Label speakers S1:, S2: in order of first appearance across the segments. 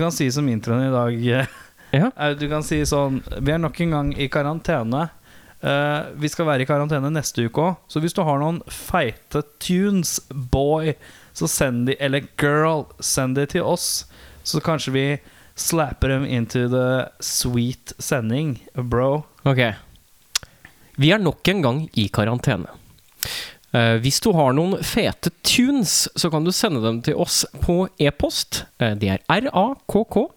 S1: Du kan si som introen i dag.
S2: Ja.
S1: eh, Du kan si sånn Vi er nok en gang i karantene. Eh, vi skal være i karantene neste uke òg, så hvis du har noen feite tunes, boy, så send de Eller girl, send de til oss. Så kanskje vi slapper dem into the sweet sending, bro.
S2: Ok. Vi er nok en gang i karantene. Eh, hvis du har noen fete tunes, så kan du sende dem til oss på e-post. Eh, det er rakkfolk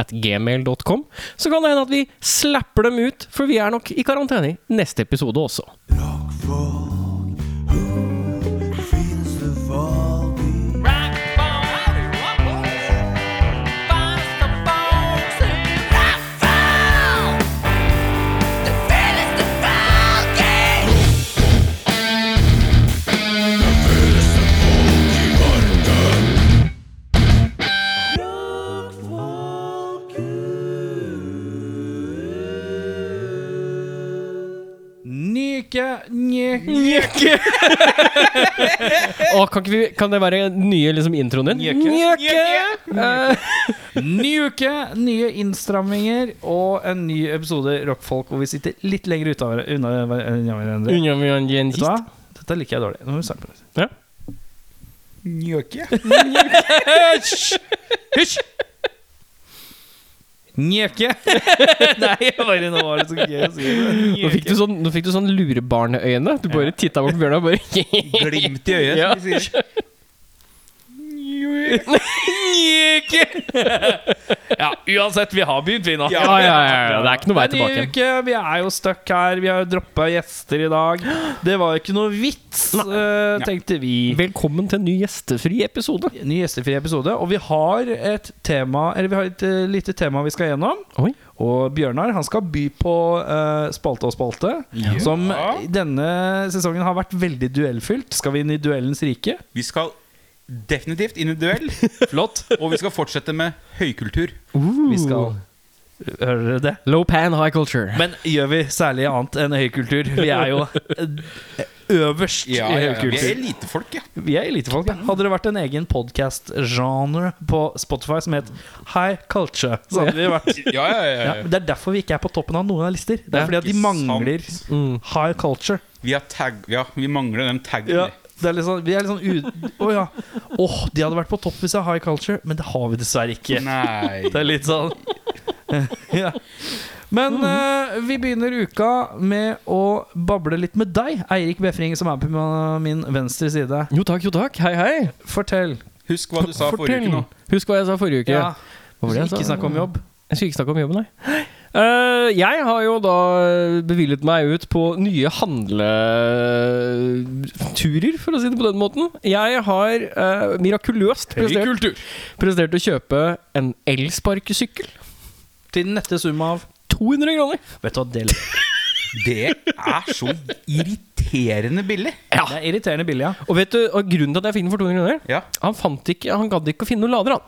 S2: at gmail.com. Så kan det hende at vi slapper dem ut, for vi er nok i karantene i neste episode også.
S1: Nyke, nye, nyke.
S2: Og kan, ikke vi, kan det være den nye liksom, introen din?
S1: Njøke.
S2: Njøke! Eh,
S1: Ny uke, nye innstramminger og en ny episode Rockfolk hvor vi sitter litt lenger ute av- unna hver- unna hverandre.
S2: unna vi en- en
S1: Vet du hva?
S2: hist.
S1: Dette liker jeg dårlig. Nå må vi starte på nytt.
S2: Ja.
S1: Njøke. Hysj! Hysj! Njøke. Nei, bare nå var det så gøy å si det.
S2: Nå fikk du sånn, nå fikk du sånn lurebarneøyne. Du bare titta bort på Bjørnar og bare
S1: glimt i øyet,
S2: Ja.
S1: som de sier. Njøke. ja, uansett, vi har begynt, vi nå.
S2: Ja, ja, ja, ja. Det er ikke noe vei tilbake.
S1: Ny uke, vi er jo stuck her. Vi har droppa gjester i dag. Det var jo ikke noe vits, eh, tenkte vi.
S2: Velkommen til en ny gjestefri episode.
S1: Ny gjestefri episode. Og vi har et tema Eller vi har et eh, lite tema vi skal gjennom.
S2: Oi.
S1: Og Bjørnar han skal by på eh, spalte og spalte, som denne sesongen har vært veldig duellfylt. Skal vi inn i duellens rike?
S3: Vi skal definitivt inn i duell,
S1: Flott.
S3: og vi skal fortsette med høykultur.
S1: Vi skal Hører dere det?
S2: Low pan high culture.
S1: Men gjør vi særlig annet enn høykultur? Vi er jo eh, øverst i høykultur.
S3: Vi er elitefolk, ja.
S1: Vi er elitefolk, ja. Hadde det vært en egen podcast-genre på Spotify som het High Culture, så hadde vi vært
S3: Ja, ja, ja,
S1: ja,
S3: ja.
S1: Det er derfor vi ikke er på toppen av noen av lister. Det
S2: Det er
S1: er fordi at de
S3: ikke
S1: mangler
S2: Mm.
S1: high culture.
S3: Vi, har tag, ja, vi mangler den taggen.
S1: Ja, det er litt sånn, vi er litt sånn u... Å ja. Åh, de hadde vært på topp hvis det er high culture, men det har vi dessverre ikke.
S3: Nei.
S1: Det er litt sånn ja. Men
S2: Mhm.
S1: eh, vi begynner uka med å bable litt med deg, Eirik Befring, som er på min venstre side.
S2: Jo takk, jo takk. Hei, hei.
S1: Fortell.
S3: Husk hva du sa forrige
S2: Fortell.
S3: uke nå.
S2: Husk hva jeg sa forrige uke.
S1: Ja.
S2: Hva var det jeg sa?
S1: Ikke snakk om jobb.
S2: Jeg skulle ikke snakke om jobben, nei. Eh, jeg har jo da bevilget meg ut på nye handleturer, for å si det på den måten. Jeg har eh, mirakuløst prestert, prestert å kjøpe en elsparkesykkel.
S1: Til den nette sum av
S2: 200 kroner.
S1: Vet du hva, det,
S3: Det er så irriterende billig.
S1: ja. det er irriterende billig, ja.
S2: Og vet du, og grunnen til at jeg fikk den for 200 kroner
S3: Ja.
S2: Han fant ikke, han gadd ikke å finne noen lader, han.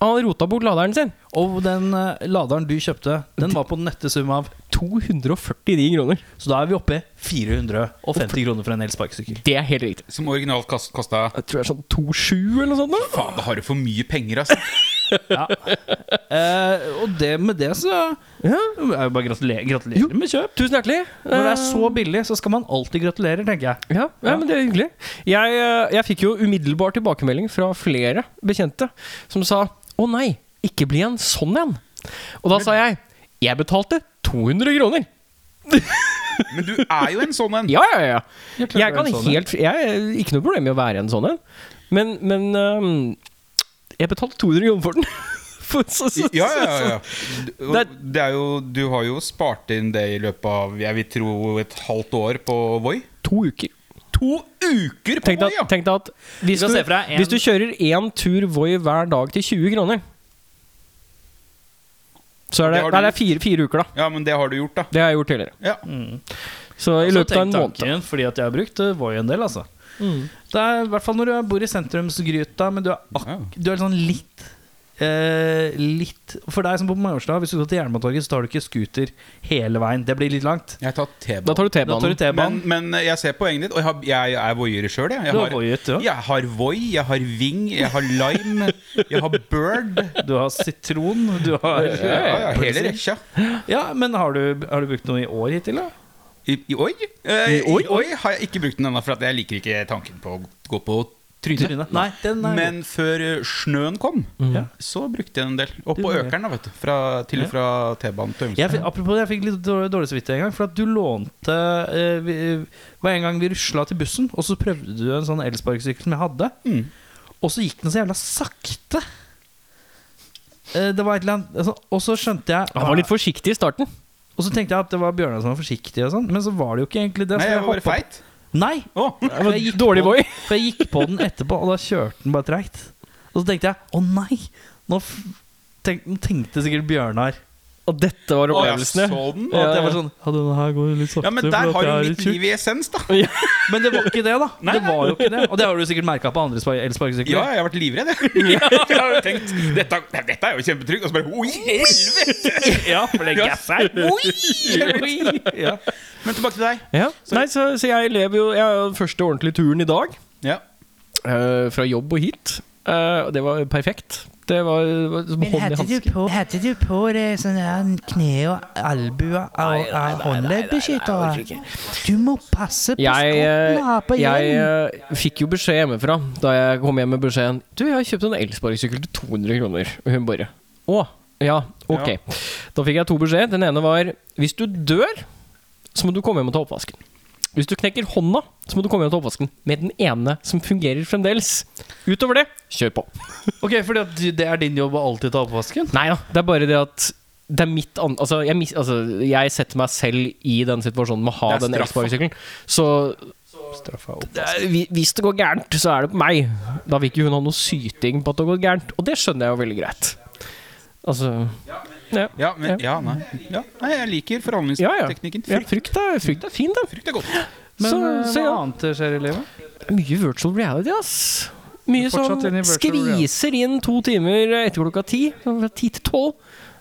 S2: Han rota bort laderen sin.
S1: Og den eh, laderen du kjøpte, den var på den nette sum av
S2: 249 kroner.
S1: Så da er vi oppe i 450 kroner for en elsparkesykkel.
S2: Det er helt riktig.
S3: Som originalt kast- kosta
S2: Jeg tror det er sånn 27 eller noe sånt. da.
S3: Faen, da har du for mye penger, altså.
S1: Eh, og det, med det så
S2: Ja.
S1: er jo bare gratulerer,
S2: Jo.
S1: gratulerer med kjøp.
S2: Tusen hjertelig.
S1: Når det er
S3: Eh.
S1: så billig, så skal man alltid gratulere, tenker jeg.
S2: Ja, ja, men det er hyggelig. Jeg, eh, jeg fikk jo umiddelbar tilbakemelding fra flere bekjente som sa 'Å nei, ikke bli en sånn en'. Og da sa jeg 'Jeg betalte 200 kroner'.
S3: Men du er jo en sånn en.
S2: Ja, ja, ja. Jeg,
S1: klart du er
S2: kan
S1: en sånn en.
S2: helt Jeg har ikke noe problem med å være en sånn en, men, men ehm, Jeg betalte 200 kroner for den. For så- så-
S3: Ja, ja, ja, ja.
S2: Det
S3: Og Det er jo, du har jo spart inn det i løpet av jeg vil tro et halvt år på Voi.
S2: To uker.
S3: To uker på
S2: Tenk deg
S3: Voi,
S2: at,
S3: ja!
S2: tenk deg at hvis,
S1: kan
S2: du,
S1: se for deg en-
S2: hvis du kjører én tur Voi hver dag til 20 kroner Så er det,
S3: Det har du
S2: nei, det er fire, fire uker, da.
S3: Ja, men det har du gjort, da.
S2: Det har jeg gjort tidligere.
S3: Ja.
S2: Så i
S1: Så
S2: løpet av
S1: Mm. Altså,
S2: en
S1: tenk
S2: måned. Mm.
S1: tanken, fordi at jeg har brukt det var jo en del, altså. Det er i hvert fall når du bor i sentrumsgryta, men du er, ak
S3: Ja.
S1: du er sånn litt eh, litt For deg som bor på Majorstua, hvis du går til Jernbanetorget, så tar du ikke scooter hele veien. Det blir litt langt.
S3: Jeg har tatt
S2: Da
S3: T-banen.
S2: tar du
S1: Da tar
S2: T-banen.
S1: du T-banen.
S3: Men, men jeg ser poenget ditt, og jeg, har, jeg er voier sjøl. Jeg. Jeg,
S1: Du er
S3: har-
S1: voyeur, du også.
S3: jeg har Voi, jeg har Ving, jeg har Lime, jeg har Bird.
S1: Du har sitron, du har
S3: Ja, ja, hele rekka.
S1: Ja, men har du, har du brukt noe i år hittil, da?
S3: I, i oi? Eh,
S2: I oi?
S3: I oi har jeg ikke brukt den ennå, for at jeg liker ikke tanken på å gå på trynet.
S1: Trynet? Nei, den er
S3: Men før eh, snøen kom,
S1: Ja.
S3: så brukte jeg en del. Og
S1: Du
S3: på
S1: gjorde det.
S3: Økeren, da, vet du. Fra, til og
S1: Ja.
S3: fra T-banen til
S1: jeg,
S3: Ungstad.
S1: fikk- apropos det, jeg fikk litt dårlig, dårlig samvittighet en gang. For at du lånte eh, vi, Hver en gang vi rusla til bussen, og så prøvde du en sånn elsparkesykkel som jeg hadde.
S3: Mm.
S1: Og så gikk den så jævla sakte. Eh, Det var et eller annet altså, Og så skjønte jeg
S2: Han var litt forsiktig i starten.
S1: Og så tenkte jeg at det var Bjørnar som var forsiktig, og sånn men så var det jo ikke egentlig det.
S3: Nei,
S1: så
S3: jeg var bare
S1: hoppet-
S3: feit.
S1: Nei,
S3: Å,
S1: for jeg, gikk
S2: Dårlig
S1: på,
S2: boy.
S1: for jeg gikk på den etterpå, og da kjørte den bare treigt. Og så tenkte jeg å nei! Nå f tenk, nå tenkte sikkert Bjørnar
S2: Og dette var
S3: å, jeg
S2: opplevelsene.
S3: så den.
S1: Og
S2: Ja,
S1: at jeg
S2: ja.
S1: var sånn Ja, denne her går litt sakte.
S3: Ja, men
S1: for
S3: der
S1: at
S3: har
S1: jeg er
S3: du
S1: litt
S3: mitt
S1: tjukk.»
S3: liv i essens, da.
S1: Men det var ikke det, da.
S3: Nei,
S1: det
S3: nei.
S1: var jo ikke det Og det har du sikkert merka på andre spa- elsparkesykler.
S3: Ja, jeg har vært livredd, jeg. jeg har jo tenkt, dette, nei, dette er jo kjempetrygt. Og så bare Oi, helvete!
S1: ja, for det
S3: Ja.
S1: gasser. Oi! ja.
S3: Men tilbake til deg.
S2: Ja. Nei, så, så jeg lever jo Jeg har jo den første ordentlige turen i dag.
S3: Ja.
S2: eh, fra jobb og hit. Eh, Og det var perfekt. Det var, det var som hånd i hanske.
S4: på, hadde du på deg sånne her kne- og albuer og, og håndleddbeskyttere? Du må passe på
S2: Jeg, eh,
S4: skoene på
S2: jeg
S4: hjelmen.
S2: eh, fikk jo beskjed hjemmefra da jeg kom hjem med beskjeden Du, jeg har kjøpt en elsparkesykkel til 200 kroner. Og hun bare Å, ja, ok.
S3: Ja.
S2: Da fikk jeg to beskjeder. Den ene var Hvis du dør, så må du komme hjem og ta oppvasken. Hvis du knekker hånda, så må du komme hjem og ta oppvasken med den ene som fungerer fremdeles. Utover det, kjør på.
S1: Ok, fordi at du- det er din jobb å alltid ta oppvasken?
S2: Nei da, det er bare det at det er mitt an... Altså, jeg, mis, altså, jeg setter meg selv i den situasjonen med å ha
S3: Det er
S2: den
S3: straffa.
S2: elsparkesykkelen. Så det er, hvi- hvis det går gærent, så er det på meg. Da vil ikke hun ha noe syting på at det går gærent, og det skjønner jeg jo veldig greit. Altså Ja,
S3: Ja, men, ja, nei. Ja, nei, jeg liker
S2: ja. ja.
S3: forhandlingsteknikken.
S2: ja
S3: Frykt,
S2: frykt, er, frykt er fin, da.
S3: frykt er godt.
S1: Men
S2: Så-
S1: eh,
S2: så
S1: hva
S2: ja.
S1: annet skjer i livet?
S2: Mye virtual reality, ass. Mye
S1: Fortsatt
S2: som
S1: inn i virtual reality.
S2: skviser inn to timer etter klokka ti. sånn Fra ti til tolv.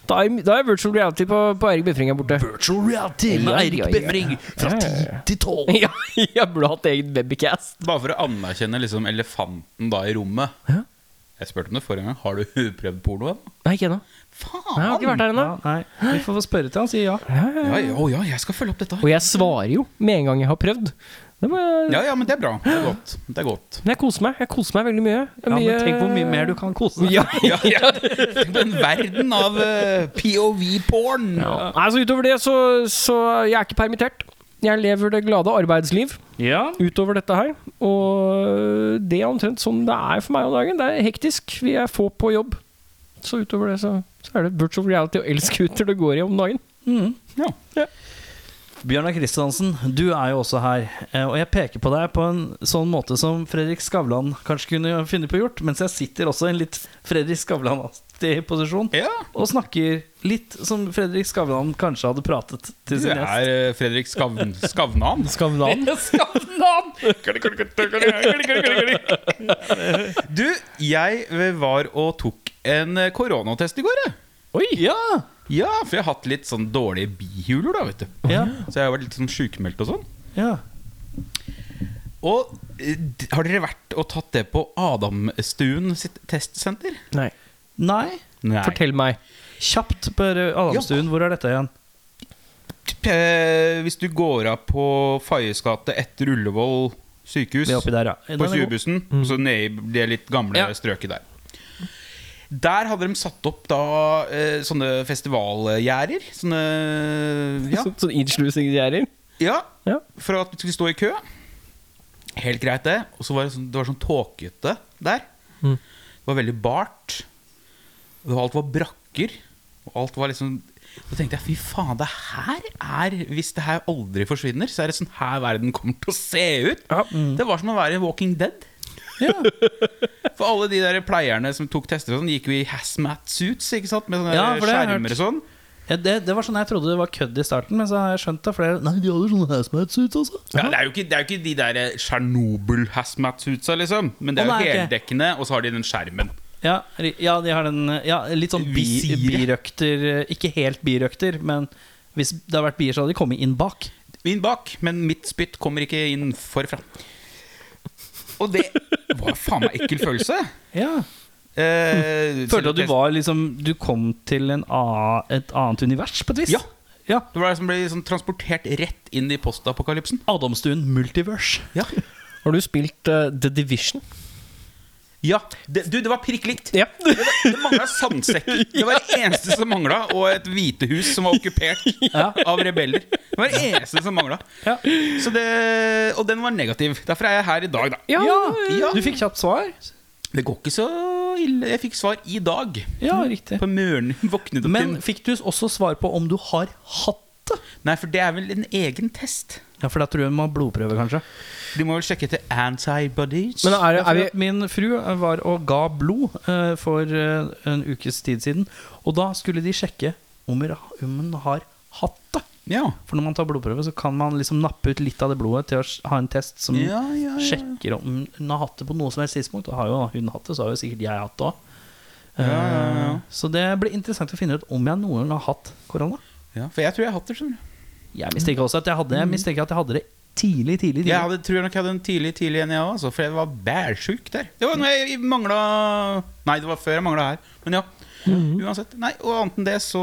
S2: Da er, da er virtual reality på, på Eirik Befring her borte.
S1: Virtual reality
S2: med Eirik Befring
S1: fra
S2: Ja, ja,
S1: 10 til 12.
S2: Ja, jeg burde hatt egen webcast.
S3: Bare for å anerkjenne liksom elefanten da i rommet.
S2: Ja.
S3: Jeg spurte om det forrige gang. Har du prøvd porno ennå?
S2: Nei, ikke ennå.
S3: Faen!
S2: Nei, Jeg har ikke vært der ennå.
S1: Ja, nei, vi får spørre til han, sier ja.
S3: Ja, ja, å ja, jeg skal følge opp dette.
S2: Og jeg svarer jo med en gang jeg har prøvd. Det må jeg,
S3: Ja, ja, men det er bra. Det er godt. Det er godt.
S2: men jeg koser meg. Jeg koser meg veldig mye.
S1: ja. Men tenk hvor mye mer du kan kose deg.
S2: ja.
S3: Ja, ja. Den verden av eh, POV-porn.
S2: Ja. Nei, så utover det, så, så jeg er ikke permittert. Jeg lever det glade arbeidsliv
S1: Ja.
S2: utover dette her. Og det er omtrent sånn det er for meg om dagen. Det er hektisk. Vi er få på jobb. Så utover det, så, så er det virtual reality og elskuter det går i om dagen.
S1: Mm.
S3: Ja.
S1: Bjørnar Kristiansen, du er jo også her. eh, Og jeg peker på deg på en sånn måte som Fredrik Skavlan kanskje kunne finne på å gjort, mens jeg sitter også i en litt Fredrik Skavlan-aktig posisjon
S3: Ja,
S1: og snakker litt som Fredrik Skavlan kanskje hadde pratet til
S3: du
S1: sin gjest.
S3: er eh, Fredrik Skavn Skavnan.
S2: Skavlan.
S3: Skavnan! Du, jeg eh, var og tok en eh, koronatest i går. jeg.
S1: Oi! Ja!
S3: Ja, for jeg har hatt litt sånn dårlige bihuler, da, vet du.
S1: Ja.
S3: Så jeg har vært litt sånn sjukmeldt og sånn.
S1: ja.
S3: Og eh, d- har dere vært og tatt det på Adamstuen sitt testsenter?
S2: Nei.
S1: Nei.
S3: Nei.
S2: Fortell meg.
S1: Kjapt på Adamstuen, hvor er dette igjen?
S3: Eh, Hvis du går av på Fayes gate etter Ullevål sykehus
S1: Vi er oppi der, ja. Den
S3: På
S1: er god. Mm.
S3: 20-bussen, så nede i det litt gamle
S1: Ja.
S3: strøket der. Der hadde de satt opp da eh, sånne festivalgjerder. Sånne ja,
S2: Så, sånn innslusningsgjerder.
S3: ja,
S2: Ja.
S3: for at vi skulle stå i kø. Helt greit, det. Og så var det sånn, det var sånn tåkete der.
S2: Mm.
S3: Det var veldig bart. Og alt var brakker. Og alt var liksom Da tenkte jeg fy faen, det her er Hvis det her aldri forsvinner, så er det sånn her verden kommer til å se ut.
S2: Ja.
S1: Mm.
S3: Det var som å være i Walking Dead. For alle de der pleierne som tok tester og sånn, gikk jo i hazmat suits ikke sant? med sånne
S1: Ja, for det har jeg hørt.
S3: skjermer og sånn.
S1: Ja, det, det var sånn jeg trodde det var kødd i starten, men så har jeg skjønt av flere Nei, de hadde sånne hazmat-suits også.
S3: Ja, det, er jo ikke, det er jo ikke de der Tsjernobyl-hazmat-suitsa, liksom. Men det
S1: Å,
S3: er jo
S1: nei, ok.
S3: heldekkende, og så har de den skjermen.
S1: Ja, ri- ja, de har den ja, Litt sånn bi,
S3: Visire.
S1: birøkter eh, Ikke helt birøkter, men hvis det har vært bier, så hadde de kommet inn bak.
S3: Inn bak, men mitt spytt kommer ikke inn forfra. Og det var faen meg ekkel følelse.
S1: Ja.
S3: Eh,
S1: Følte at du
S3: selv-
S1: var liksom Du kom til en a, et annet univers, på et vis?
S3: Ja.
S1: ja.
S3: Det var som ble liksom transportert rett inn i postapokalypsen.
S1: Adamstuen Multiverse.
S3: Ja.
S2: Har du spilt eh, The Division?
S3: ja. Det, du, det var prikk likt.
S2: Ja.
S3: Det mangla sandsekker. Det var det eneste som mangla, og et hvitehus som var okkupert
S1: Ja.
S3: av rebeller. Det var det eneste som mangla.
S1: Ja.
S3: Og den var negativ. Derfor er jeg her i dag, da.
S1: Ja,
S3: ja.
S1: Du fikk kjapt svar?
S3: Det går ikke så ille. Jeg fikk svar i dag.
S1: Ja, riktig.
S3: På morgenen våknet opp
S1: Mm. Men
S3: til-
S1: fikk du også svar på om du har hatt det?
S3: Nei, for det er vel en egen test.
S1: Ja, for da tror jeg man har blodprøve, kanskje.
S3: Du må vel sjekke etter antibodies.
S2: Men er,
S1: Ja,
S2: er
S1: for
S2: vi
S1: at Min fru eh, var og ga blod eh, for eh, en ukes tid siden. Og da skulle de sjekke om hun om hun har hatt det.
S3: ja.
S1: For når man tar blodprøve, så kan man liksom nappe ut litt av det blodet til å s- ha en test som
S3: Ja, ja, ja.
S1: sjekker om hun har hatt det på noe som helst tidspunkt. Og har jo hun hatt det, så har jo sikkert jeg hatt det òg. Så det blir interessant å finne ut om jeg noen gang har hatt korona.
S3: ja. For jeg tror jeg har hatt det. sånn. skjønner du.
S1: Jeg mistenker også at jeg hadde,
S3: Mm.
S1: jeg mistenker at jeg hadde det tidlig, tidlig. tidlig.
S3: Jeg hadde, tror jeg nok jeg hadde en tidlig tidlig en, jeg òg, altså, for jeg var bærsjuk der. Det var når jeg mangla Nei, det var før jeg mangla her. Men ja. Uansett. Nei, og annet enn det så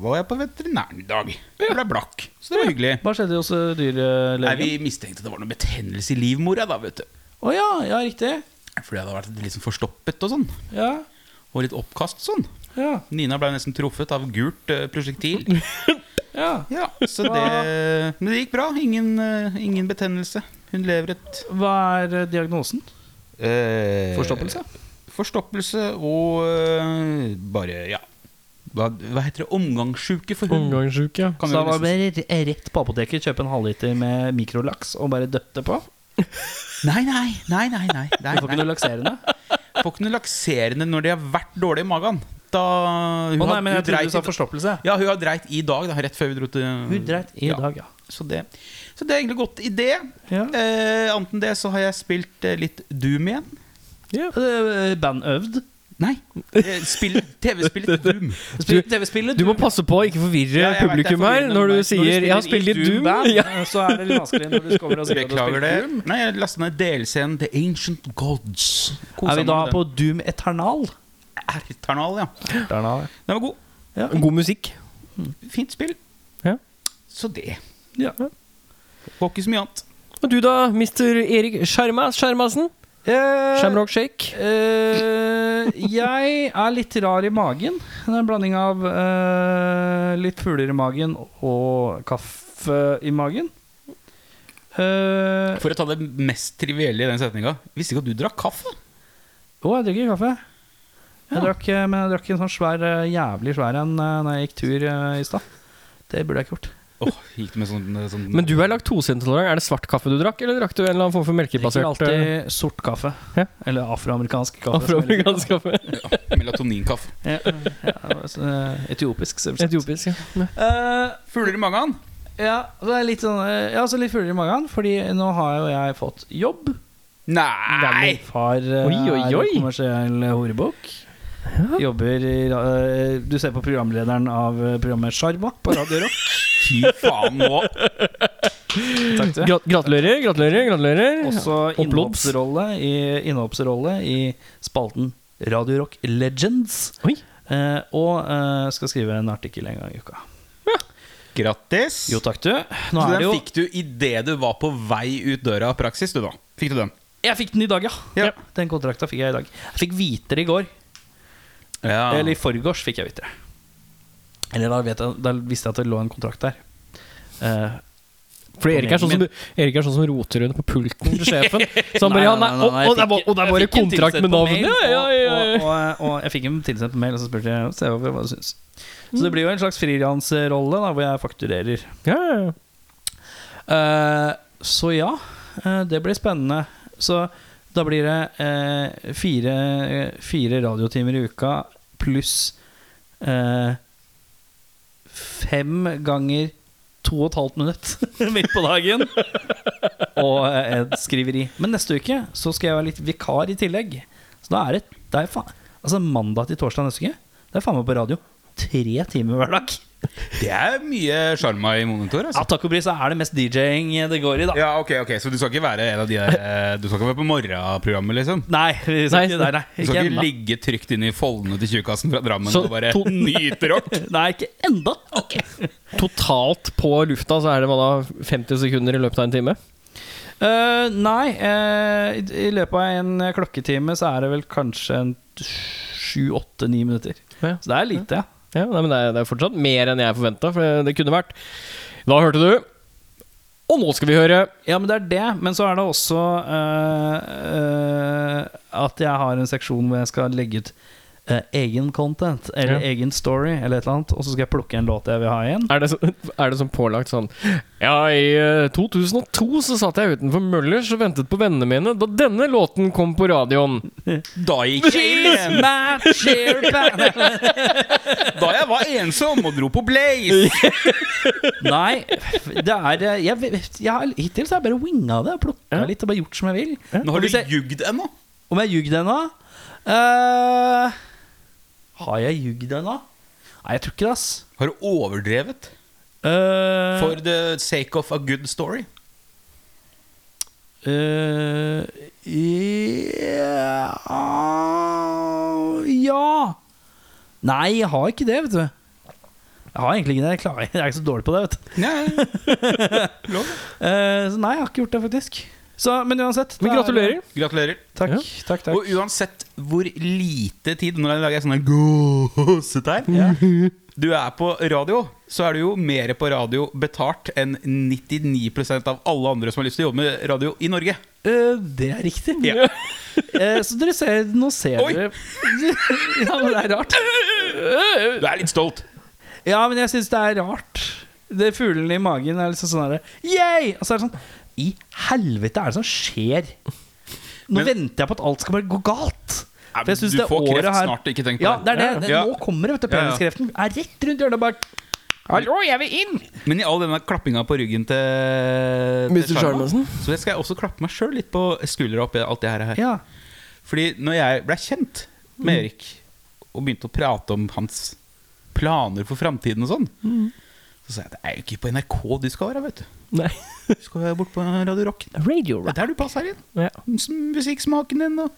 S3: var jeg på veterinæren i dag. Jeg ble blakk, så det var hyggelig.
S1: Hva skjedde hos eh,
S3: Nei,
S1: dyrelegen?
S3: Vi mistenkte det var noe betennelse i livmora, da, vet du.
S1: Å ja, ja, riktig.
S3: Fordi jeg hadde vært litt sånn forstoppet og sånn.
S1: Ja,
S3: Og litt oppkast og sånn.
S1: ja,
S3: Nina ble nesten truffet av gult eh, prosjektil.
S1: ja.
S3: Ja, så det Men det gikk bra. Ingen, eh, ingen betennelse. Hun lever et
S1: Hva er eh, diagnosen?
S3: eh,
S1: Forstoppelse?
S3: Forstoppelse og eh, bare ja. Hva, hva heter det? Omgangssjuke for hund.
S2: Omgangssjuke, ja.
S3: Kan
S1: Så
S3: vi
S1: da
S3: liksom vel
S1: var
S3: nesten
S1: det bare rett på apoteket, kjøpe en halvliter med mikrolaks og bare døtte på?
S3: si. Nei, nei, nei. nei, nei, nei,
S1: Du får ikke
S3: nei.
S1: noe lakserende?
S3: Får ikke noe lakserende når de har vært dårlige i magen. Da
S1: Å nei,
S3: har-
S1: men jeg trodde
S3: dreit
S1: du sa
S3: i-
S1: forstoppelse.
S3: Ja, hun har dreit i dag, da, rett før vi dro til
S1: Hun dreit i
S3: Ja.
S1: dag, ja.
S3: Så det, så det er egentlig godt i det.
S1: Ja.
S3: Eh, Annet enn det så har jeg spilt eh, litt Doom igjen.
S1: Eh, Band øvd.
S3: Nei, eh, spill- TV-spillet Doom.
S1: Spill- TV-spillet.
S2: Du må passe på å ikke forvirre
S3: Ja, jeg vet det, jeg
S2: publikum her
S3: forvirrer
S2: når du
S3: meg. Når du
S2: sier 'jeg har spilt
S1: spiller i
S2: litt Doom'.
S1: Band,
S2: Ja.
S1: eh, Så er det litt vanskelig når du kommer og sier at du har
S3: Beklager det.
S1: spilt Doom.
S3: Nei, jeg lasta ned DLC-en The Ancient Gods. Kosa
S1: Er vi
S3: meg
S1: da
S3: med
S1: på Doom Eternal?
S3: den. Eternal, ja.
S1: Eternal,
S3: Den var god.
S2: God musikk.
S3: Fint spill.
S2: Ja.
S3: Så det.
S1: ja.
S3: Var ikke så mye annet.
S2: Og du da, mister Erik Skjermas Skjermassen? Shamrock Shake?
S1: Eh, jeg er litt rar i magen. Det er en blanding av eh, litt fugler i magen og kaffe i magen. Eh,
S3: For å ta det mest trivielle i den setninga Visste ikke at du drakk kaffe.
S1: Å, jeg drikker kaffe. Jeg drakk, eh, men jeg drakk en sånn svær, eh, jævlig svær en uh, Når jeg gikk tur eh, i stad. Det burde jeg ikke gjort.
S3: Åh, gikk det med sånn, sånn
S2: Men du er laktoseintolerant. Er det svart kaffe du drakk, eller drakk du en eller annen form for
S1: Jeg drikker
S2: melkebasert eh,
S1: alltid sort kaffe.
S2: Ja.
S1: Eller afroamerikansk kaffe. som jeg liker.
S2: afroamerikansk kaffe?
S3: melatoninkaffe.
S1: Ja, ja, så, eh, etiopisk, selvsagt.
S2: Etiopisk, ja.
S1: Eh,
S3: Fugler i magen?
S1: Ja, og så er jeg litt sånn Jeg er også litt fullere i magen, fordi nå har jo jeg fått jobb. Der
S3: Nei!
S1: min far eh,
S2: Oi, oi, oi.
S1: er kommersiell horebukk. Jobber i ra- eh, Du ser på programlederen av eh, programmet Sjarma på Radio Rock.
S3: Fy faen nå.
S1: Takk til.
S2: Gra- Gratulerer, gratulerer, gratulerer.
S1: Også
S2: Applauds.
S1: innhoppsrolle i, innhoppsrolle i spalten Radio Rock Legends.
S2: Oi.
S1: Eh, og eh, skal skrive en artikkel en gang i uka.
S3: Grattis.
S1: Jo takk, du. Nå
S3: så
S1: er
S3: den
S1: det jo
S3: fikk du idet du var på vei ut døra av praksis, du, da. Fikk du den?
S1: Jeg fikk den i dag, ja.
S3: Ja.
S1: ja. Den kontrakta fikk jeg i dag. Jeg fikk vite det i går.
S3: Ja.
S1: Eller i forgårs fikk jeg vite det. Eller da, vet jeg, da visste jeg at det lå en kontrakt der. Eh,
S2: Fordi Erik er, sånn som, Erik er sånn som roter rundt på pulten til sjefen. Så han bare ja, nei, og, og, det er bare- og det er bare
S1: jeg fikk en
S2: kontrakt med
S1: tilsendt på mail,
S2: navnet! Ja, ja, ja, ja.
S1: Og, og, og, og jeg fikk en tilsendt på mail, og så spurte jeg se over hva du syns. Så det blir jo en slags frilansrolle da, hvor jeg fakturerer.
S2: Ja, ja, ja.
S1: Eh, så ja, eh, det blir spennende. Så da blir det eh, fire, fire radiotimer i uka pluss eh, fem ganger to og et halvt minutt midt på dagen. og eh, et skriveri. Men neste uke så skal jeg være litt vikar i tillegg. Så da er det, det er faen Altså mandag til torsdag neste uke. Det er faen meg på radio. Tre timer hver dag.
S3: Det er mye sjarma i monitor.
S1: Ja,
S3: Altså.
S1: takk og pris, så er det mest DJ-ing det går i, da.
S3: Ja, ok, ok, Så du skal ikke være en av de der eh, Du skal ikke være på morgenprogrammet, liksom?
S1: Nei, vi
S2: Nei,
S1: skal ikke der, nei.
S3: Du skal ikke
S1: enda.
S3: ligge trygt inne i foldene til tjukkasen fra Drammen
S2: Så
S3: og bare
S2: to-
S3: nyte rock?
S1: Nei, ikke enda.
S2: Totalt på lufta så er det hva da 50 sekunder i løpet av en time.
S1: Eh, nei, eh, i, i løpet av en eh, klokketime så er det vel kanskje en sju, åtte, ni minutter.
S2: Ja.
S1: Så det er lite, ja.
S2: Ja, nei, men det er, det er fortsatt mer enn jeg forventa, for det- det kunne vært Da hørte du Og nå skal vi høre
S1: Ja, men det er det. Men så er det også eh, eh, at jeg har en seksjon hvor jeg skal legge ut eh, egen content, eller
S2: Ja.
S1: egen story, eller et eller annet. Og så skal jeg plukke en låt jeg vil ha igjen.
S2: Er det, så, er det som pålagt sånn Ja, i eh, 2002 så satt jeg utenfor Møllers og ventet på vennene mine da denne låten kom på radioen.
S3: Da gikk jeg inn igjen! Da jeg var ensom og dro på Blaze!
S1: Nei, det er eh, jeg, vet- jeg, har- Hittil så har jeg bare winga det og plukka
S2: Ja.
S1: litt og bare gjort som jeg vil.
S3: Nå
S1: Og
S3: har
S1: hvis
S3: du
S1: jeg-
S3: jugd ennå.
S1: Om jeg ljugde ennå? Eh, har jeg ljugd ennå? Nei, jeg tror ikke det, ass.
S3: Har du overdrevet?
S1: Eh,
S3: For the sake of a good story.
S1: eh, ja- Ja Nei, jeg har ikke det, vet du. Jeg har egentlig ikke det. Jeg, klarer, jeg er ikke så dårlig på det. vet du
S3: Nei,
S1: Eh, Så nei, jeg har ikke gjort det, faktisk. Så, men uansett. da
S2: Men
S1: er det-
S2: gratulerer.
S3: Gratulerer.
S1: Takk,
S2: Ja.
S1: takk, takk.
S3: Og uansett hvor lite tid Når jeg lager sånne gåsetegn Du er på radio, så er du jo mer på radio betalt enn 99 av alle andre som har lyst til å jobbe med radio i Norge.
S1: Eh, det er riktig.
S3: Ja.
S1: Eh, så dere ser Nå ser
S3: Oi.
S1: dere Ja, men det er rart.
S3: Du er litt stolt.
S1: Ja, men jeg syns det er rart. Det Fuglene i magen er liksom sånn herre Yeah! Og så er det sånn I helvete er det som skjer? Nå
S3: Men-
S1: venter jeg på at alt skal bare gå galt.
S3: Ja,
S1: For jeg synes
S3: du
S1: det
S3: får
S1: året
S3: kreft
S1: her-
S3: snart, ikke tenk på
S1: Ja, det
S3: det.
S1: er det. det
S3: Ja.
S1: Nå kommer det, vet du.
S3: Ja, ja.
S1: Peniskreften er rett rundt hjørnet. Bare Hallo, jeg vil inn!
S3: Men i all denne klappinga på ryggen til, til
S2: Mr. Charmansen.
S3: så skal jeg også klappe meg sjøl litt på skuldra oppi alt det her. her.
S1: Ja.
S3: Fordi når jeg ble kjent
S2: Mm.
S3: med Erik og begynte å prate om hans planer for framtiden og sånn,
S2: Mm.
S3: så sa jeg at det er jo ikke på NRK du skal være, vet du.
S2: Nei.
S3: Du skal være bort på Radio Rock. Det
S2: Radio
S3: er der du passer inn.
S2: Ja.
S3: Sm- Musikksmaken din og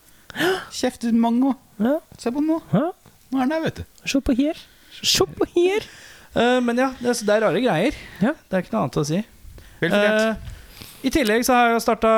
S3: kjeftemang og
S2: Ja.
S3: Se på den nå.
S2: Ja.
S3: Nå er den der, vet du.
S2: Se på her. Se på her.
S1: Eh, men ja, det, så det er rare greier.
S2: Ja.
S1: Det er ikke noe annet å si.
S3: Vel fortjent.
S1: Eh, I tillegg så har jeg jo starta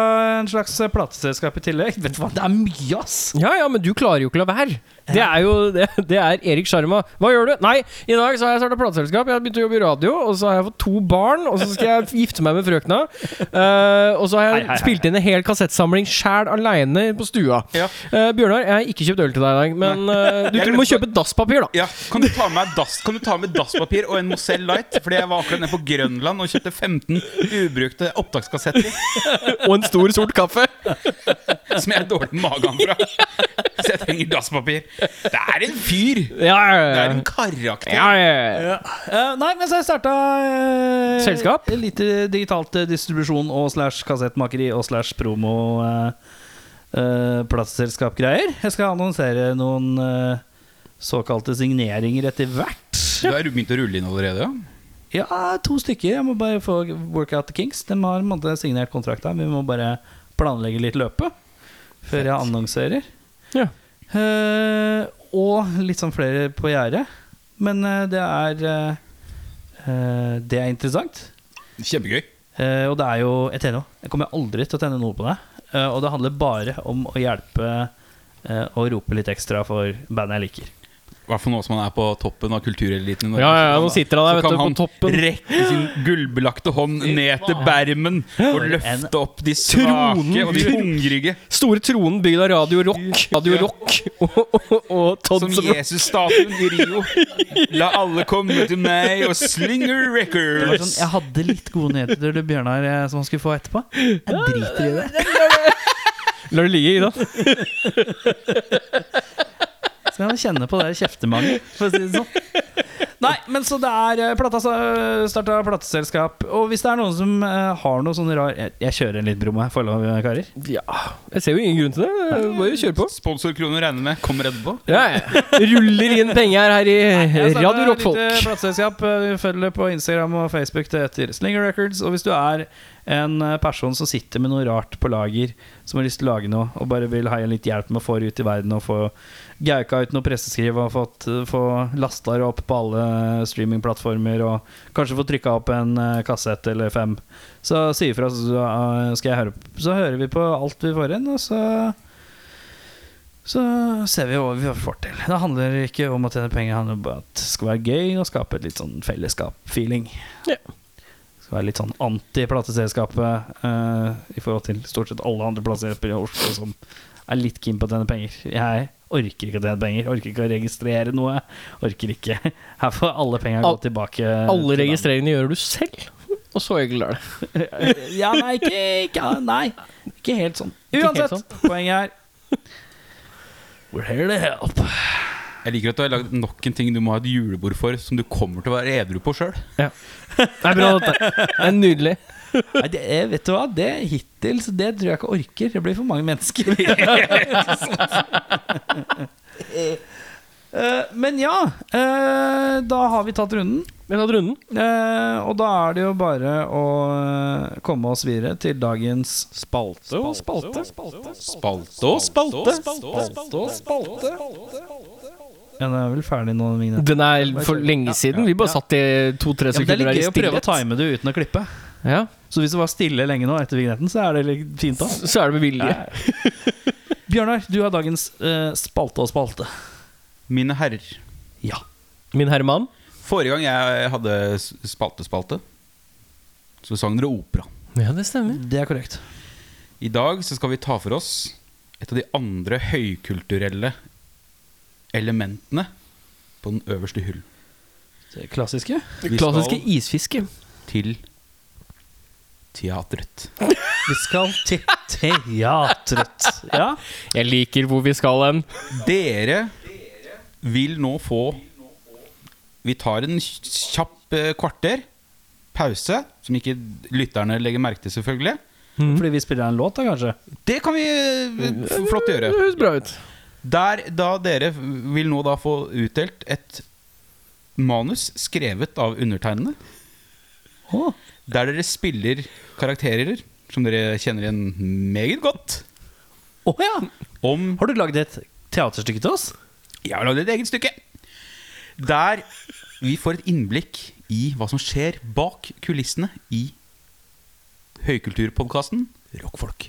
S1: en slags plateselskap i tillegg. Vet du hva, det er mye, ass!
S2: Ja, ja, men du klarer jo ikke å la være. Det er jo det, det er Erik Sjarma. Hva gjør du? Nei, i dag så har jeg starta plateselskap, jeg har begynt å jobbe i radio, og så har jeg fått to barn, og så skal jeg gifte meg med frøkna. Eh, og så har jeg
S1: Hei, hei, hei.
S2: spilt inn en hel kassettsamling sjæl aleine på stua.
S3: Ja.
S2: Eh, Bjørnar, jeg har ikke kjøpt øl til deg i dag, men eh, du,
S3: Jeg
S2: du må kjøpe dasspapir, da.
S3: Ja, kan du ta med dass, Kan du ta med dasspapir og en Mozell Light? Fordi jeg var akkurat nede på Grønland og kjøpte 15 ubrukte opptakskassetter
S2: Og en stor, sort kaffe.
S3: som jeg har dårlig magen fra. Så jeg trenger dasspapir. Det er en fyr!
S2: Ja, ja,
S3: Det
S2: ja.
S3: er en karakter.
S2: ja, ja, ja.
S1: Eh, nei, men så har jeg starta eh,
S2: Selskap?
S1: Litt eh, digitalt eh, distribusjon og slash kassettmakeri og slash promo eh, eh, plateselskap-greier. Jeg skal annonsere noen eh, såkalte signeringer etter hvert.
S3: Du har begynt å rulle inn allerede? Ja.
S1: Ja, to stykker. Jeg må bare få work out the kinks. De har på en måte signert kontrakta. Vi må bare planlegge litt løpet før jeg annonserer.
S2: Ja.
S1: Eh, og litt sånn flere på gjerdet. Men eh, det er eh, eh, Det er interessant.
S3: Kjempegøy.
S1: Eh, og det er jo Jeg tjener jo. Jeg kommer aldri til å tjene noe på det. Eh, og det handler bare om å hjelpe eh, og rope litt ekstra for bandet jeg liker.
S3: I hvert fall nå som han er på toppen av kultureliten i Norge.
S2: Ja, ja, ja, nå sitter han der, vet
S3: så
S2: du, på
S3: kan
S2: toppen.
S3: han rekke sin gullbelagte hånd ned til bermen og løfte opp de
S2: Tronen.
S3: svake og de hungrige.
S2: Store tronen bygd av Radio Rock. Radio Rock og, og, og Todd
S3: Som
S2: som-
S3: Jesus-statuen i Rio. La alle komme til meg og slinger
S1: Det var sånn,
S3: records.
S1: jeg hadde litt gode nyheter til Bjørnar eh, som han skulle få etterpå. Jeg driter i det.
S2: La det ligge, Ida.
S1: Så kan jeg kjenne på det kjeftemanget, for å si det sånn. Nei, men så det er eh, plata starta plateselskap. Og hvis det er noen som eh, har noe sånn rar Jeg, jeg kjører en liten promo, jeg får jeg lov, eh, karer?
S2: Ja, jeg ser jo ingen grunn til det. Bare kjør på.
S3: Sponsorkroner regner med. Kommer edderpå.
S2: Ja, ja. Ruller inn penger her i
S1: Jeg startet
S2: Eh, Radio
S1: et lite
S2: Rockfolk.
S1: plateselskap. Eh, Følg det på Instagram og Facebook. Det heter Slinger Records. Og hvis du er en eh, person som sitter med noe rart på lager, som har lyst til å lage noe, og bare vil ha en litt hjelp med å få det ut i verden og få gauka ut noe presseskriv og fått, eh, få lasta det opp på alle streamingplattformer og kanskje få trykka opp en eh, kassett eller fem, så si ifra, så eh, skal jeg høre p- Så hører vi på alt vi får inn, og så så ser vi hva vi får til. Det handler ikke om å tjene penger, det handler bare om at det skal være gøy og skape et litt sånn fellesskap-feeling.
S2: Ja.
S1: Skal være litt sånn anti-plateselskapet eh, i forhold til stort sett alle andre plateselskaper i Oslo som er litt keen på å tjene penger. Jeg orker ikke å tjene penger, orker ikke å registrere noe. Orker ikke. Her får alle penger gå
S2: Al-
S1: tilbake.
S2: Alle
S1: til dem.
S2: registreringene gjør du selv. Og så egentlig lar det.
S1: Ja, nei, ikke, ikke, nei, ikke helt sånn.
S2: Ikke helt
S1: Uansett, poenget er We're here to help.
S3: Jeg liker at du har lagd nok en ting du må ha et julebord for, som du kommer til å være edru på sjøl.
S2: Det er bra, dette. Det er nydelig.
S1: Nei, det er, vet du hva? Det hittil så det tror jeg ikke orker. Det blir for mange mennesker. Eh, Men ja, eh, da har vi tatt runden.
S2: Vi har tatt runden.
S1: Eh, Og da er det jo bare å eh, komme oss videre til dagens spalte og spalte.
S3: Spalte og spalte.
S1: Ja, den er vel ferdig nå, den vignetten.
S2: Den er for lenge siden. Vi bare satt i to-tre
S1: Ja, men det er
S2: sekunder
S1: litt
S2: her i
S1: gøy å prøve å
S2: stillhet.
S1: time det uten å klippe.
S2: Ja,
S1: Så hvis det var stille lenge nå etter vignetten, så er det litt fint da.
S2: så er det med vilje.
S1: Bjørnar, du har dagens eh, spalte og spalte.
S3: Mine herrer.
S1: Ja.
S2: Min herre mann.
S3: Forrige gang jeg hadde spalte-spalte, så sang dere opera.
S2: Ja, det stemmer.
S1: Det er korrekt.
S3: I dag så skal vi ta for oss et av de andre høykulturelle elementene på den øverste hyllen.
S1: Det klassiske.
S3: Vi
S2: Klassiske
S3: skal
S2: isfiske.
S3: til teatret.
S1: Vi skal til teatret. Ja.
S2: Jeg liker hvor vi skal hen.
S3: Dere vil nå få Vi tar en kjapp eh, kvarter pause, som ikke lytterne legger merke til, selvfølgelig.
S1: Mm. Fordi vi spiller en låt, da, kanskje?
S3: Det kan vi eh, f- flott
S2: Det
S3: gjøre.
S2: høres bra ut.
S3: Der da dere vil nå da få utdelt et manus skrevet av undertegnede.
S1: Å.
S3: Der dere spiller karakterer som dere kjenner igjen meget godt.
S1: Å ja!
S3: Om
S1: Har du lagd et teaterstykke til oss?
S3: Jeg har lagd et eget stykke. Der vi får et innblikk i hva som skjer bak kulissene i høykulturpodkasten Rockfolk.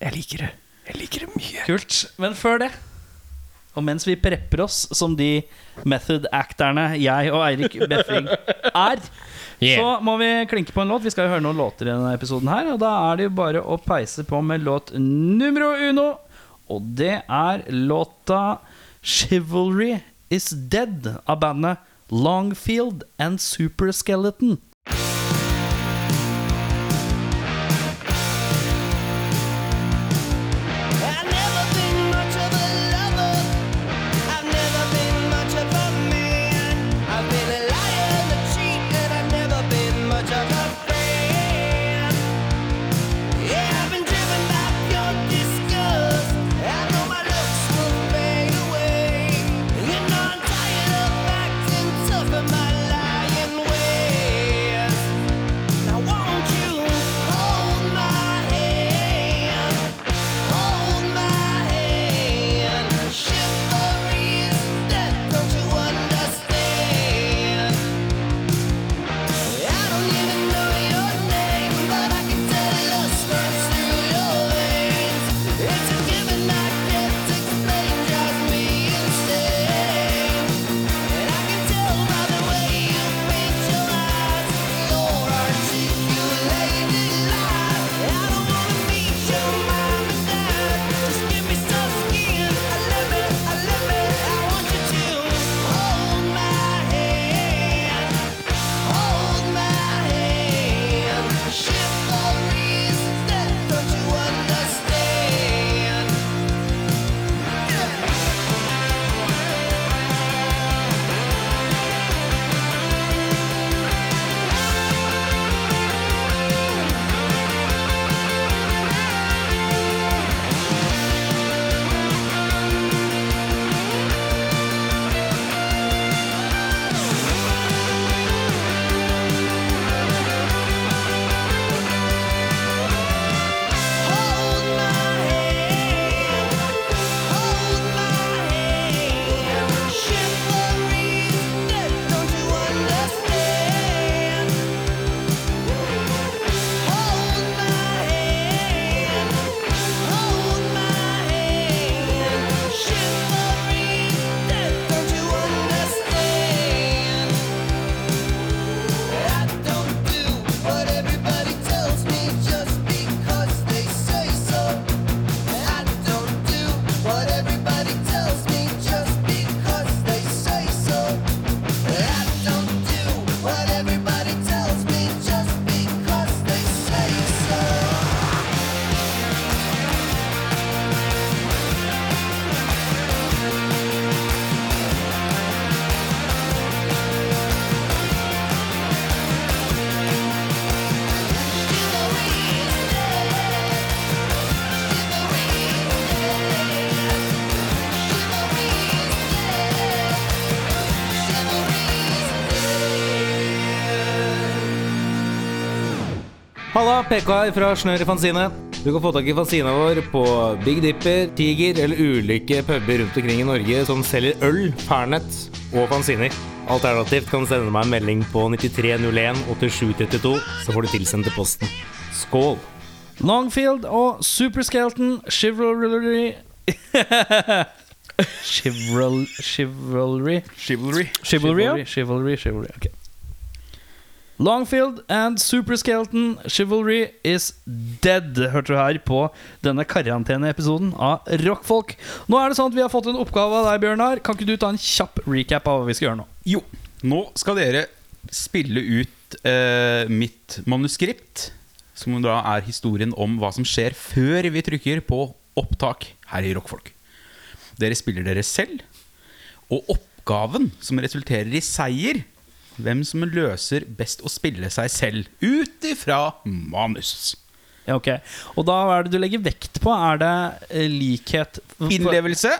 S2: Jeg liker det. Jeg liker det mye.
S1: Kult. Men før det og mens vi prepper oss som de method acterne jeg og Eirik Befring er, så
S2: Yeah.
S1: må vi klinke på en låt. Vi skal jo høre noen låter i denne episoden her, og da er det jo bare å peise på med låt numero uno. Og det er låta 'Chivalry Is Dead' av bandet Longfield and Superskeleton.
S5: I've never been much of a lover. I've never been much of a man. I've been a liar, a cheat, and I've never been much of a fan. Yeah, I've been driven by pure disgust. I know my looks will fade away. You know I'm tired of acting tough in my lying way.
S6: Halla, PK her fra Snør i Fanzine. Du kan få tak i fanzina vår på Big Dipper, Tiger eller ulike puber rundt omkring i Norge som selger øl, Fernet og fanziner. Alternativt kan du sende meg en melding på 9301 8732, så får du tilsendt til posten. Skål!
S1: Longfield og Superskeleton Chivalry Chival, Chivalry
S3: Chivalry.
S2: Chivalry, ja.
S1: Chivalry, chivalry, chivalry. ok. Longfield and Superskeleton Chivalry is dead, hørte du her på denne karanteneepisoden av Rockfolk. Nå er det sånn at vi har fått en oppgave av deg, Bjørnar. Kan ikke du ta en kjapp recap av hva vi skal gjøre nå?
S3: Jo, nå skal dere spille ut eh, mitt manuskript, som da er historien om hva som skjer før vi trykker på opptak her i Rockfolk. Dere spiller dere selv, og oppgaven som resulterer i seier, hvem som løser best å spille seg selv ut ifra manus.
S1: Ja, ok. Og da hva er det du legger vekt på? Er det eh, likhet
S3: Innlevelse.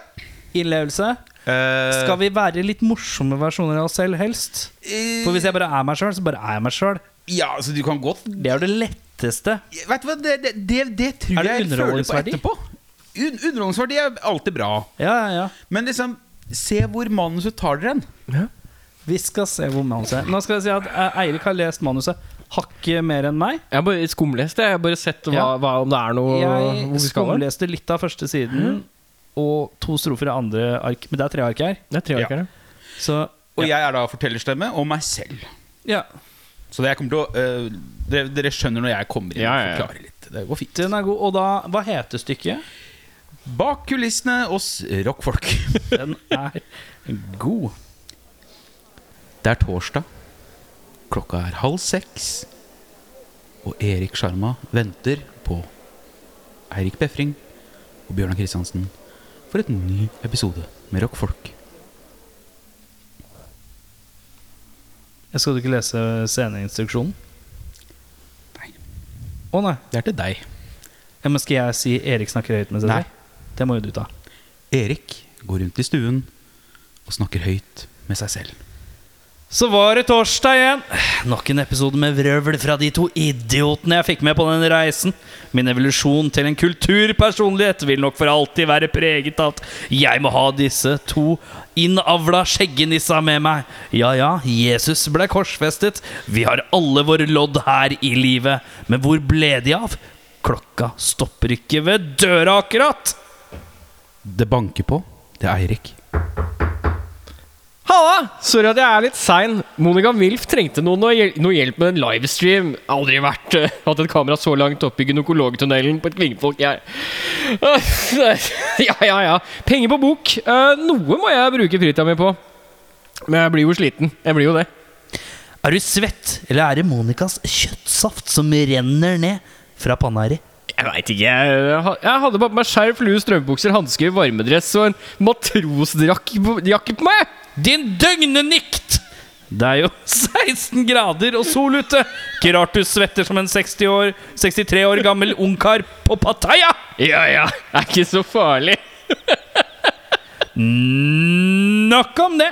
S1: Innlevelse? Skal vi være litt morsomme versjoner av oss selv, helst? For hvis jeg bare er meg sjøl, så bare er jeg meg sjøl.
S3: eh, Ja, altså du kan godt
S1: Det er jo det letteste.
S3: Vet du hva, det, det, det, det tror
S1: Er det
S3: jeg jeg føler på
S1: underholdningsverdi?
S3: etterpå. Un underholdningsverdi er alltid bra.
S1: Ja, ja, ja.
S3: Men liksom, se hvor manuset tar dere hen.
S1: Vi skal se hvor manuset er. Nå skal jeg si at eh, Eirik har lest manuset hakket mer enn meg.
S2: Jeg har bare skumlest det. Jeg har bare sett hva,
S1: Ja.
S2: hva, om det er noe hvor
S1: Jeg
S2: vi skal hen.
S1: skumleste litt av første siden og to strofer av andre ark. Men det er tre ark her.
S2: Det er tre
S3: Ja.
S2: arker, det.
S1: Så
S3: Og jeg er da fortellerstemme og meg selv.
S1: ja,
S3: Så det jeg kommer til å øh, dere, dere skjønner når jeg kommer inn
S2: Ja,
S3: og
S2: ja, ja.
S3: forklarer litt. Det går fint.
S1: den er god. Og da Hva heter stykket?
S3: Bak kulissene hos rockfolk.
S1: Den er god.
S3: Det er torsdag. Klokka er halv seks. Og Erik Sjarma venter på Eirik Befring og Bjørnar Kristiansen for et ny episode med rockfolk.
S1: Jeg skal du ikke lese sceneinstruksjonen?
S3: Nei.
S1: Å nei.
S3: Det er til deg.
S1: Ja, men skal jeg si Erik snakker høyt med seg
S3: Nei.
S1: selv? Det må jo du ta.
S3: Erik går rundt i stuen og snakker høyt med seg selv.
S1: Så var det torsdag igjen. Nok en episode med vrøvl fra de to idiotene jeg fikk med på den reisen. Min evolusjon til en kulturpersonlighet vil nok for alltid være preget av at jeg må ha disse to innavla skjeggenissa med meg. Ja ja, Jesus ble korsfestet. Vi har alle våre lodd her i livet. Men hvor ble de av? Klokka stopper ikke ved døra akkurat.
S3: Det banker på. Det er Eirik.
S2: Halla! Sorry at jeg er litt sein. Monica Wilf trengte noe, noe, hjel noe hjelp med en livestream. Aldri vært eh, hatt et kamera så langt oppe i gynekologtunnelen på et kvinnefolk, jeg. ja, ja, ja. Penger på bok. Eh, noe må jeg bruke fritida mi på. Men jeg blir jo sliten. Jeg blir jo det.
S1: Er du svett, eller er det Monicas kjøttsaft som renner ned fra panna di?
S2: Jeg veit ikke. Jeg, ha- jeg hadde bare på meg skjerf, lue, strømpebukser, hansker, varmedress og en matrosdrakke på, jakke på meg.
S1: Din døgnenikt! Det er jo 16 grader og sol ute. Ikke rart du svetter som en 60 år, 63 år gammel ungkar på Pattaya!
S2: Ja, ja. Det er ikke så farlig.
S1: Nok om det.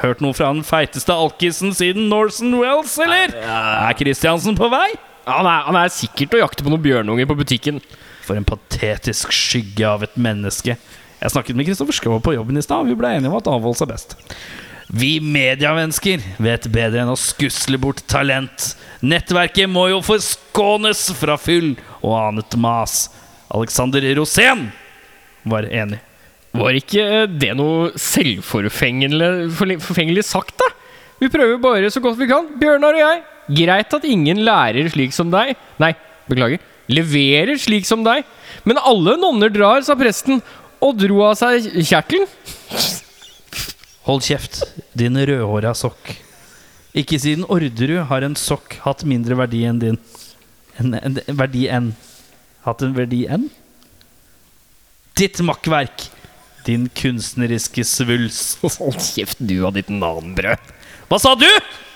S1: Hørt noe fra den feiteste alkisen siden Norson Wells, eller? Er Kristiansen på vei?
S2: Han er, han er sikkert å jakte på noen bjørnunger på butikken.
S1: For en patetisk skygge av et menneske. Jeg snakket med Kristoffer Schou på jobben i stad, og vi ble enige om at avholdelse er best. Vi mediemennesker vet bedre enn å skusle bort talent. Nettverket må jo forskånes fra fyll og annet mas. Alexander Rosén var enig.
S2: Var ikke eh, det noe selvforfengelig forli- forfengelig sagt, da? Vi prøver bare så godt vi kan, Bjørnar og jeg. Greit at ingen lærer slik som deg. Nei, beklager. Leverer slik som deg. Men alle nonner drar, sa presten, og dro av seg kjertelen.
S1: Hold kjeft, din rødhåra sokk. Ikke siden Orderud har en sokk hatt mindre verdi enn din. En, en, en verdi enn Hatt en verdi enn? Ditt makkverk, din kunstneriske svulst.
S2: Hold kjeft, du og ditt nanbrød.
S1: Hva sa du?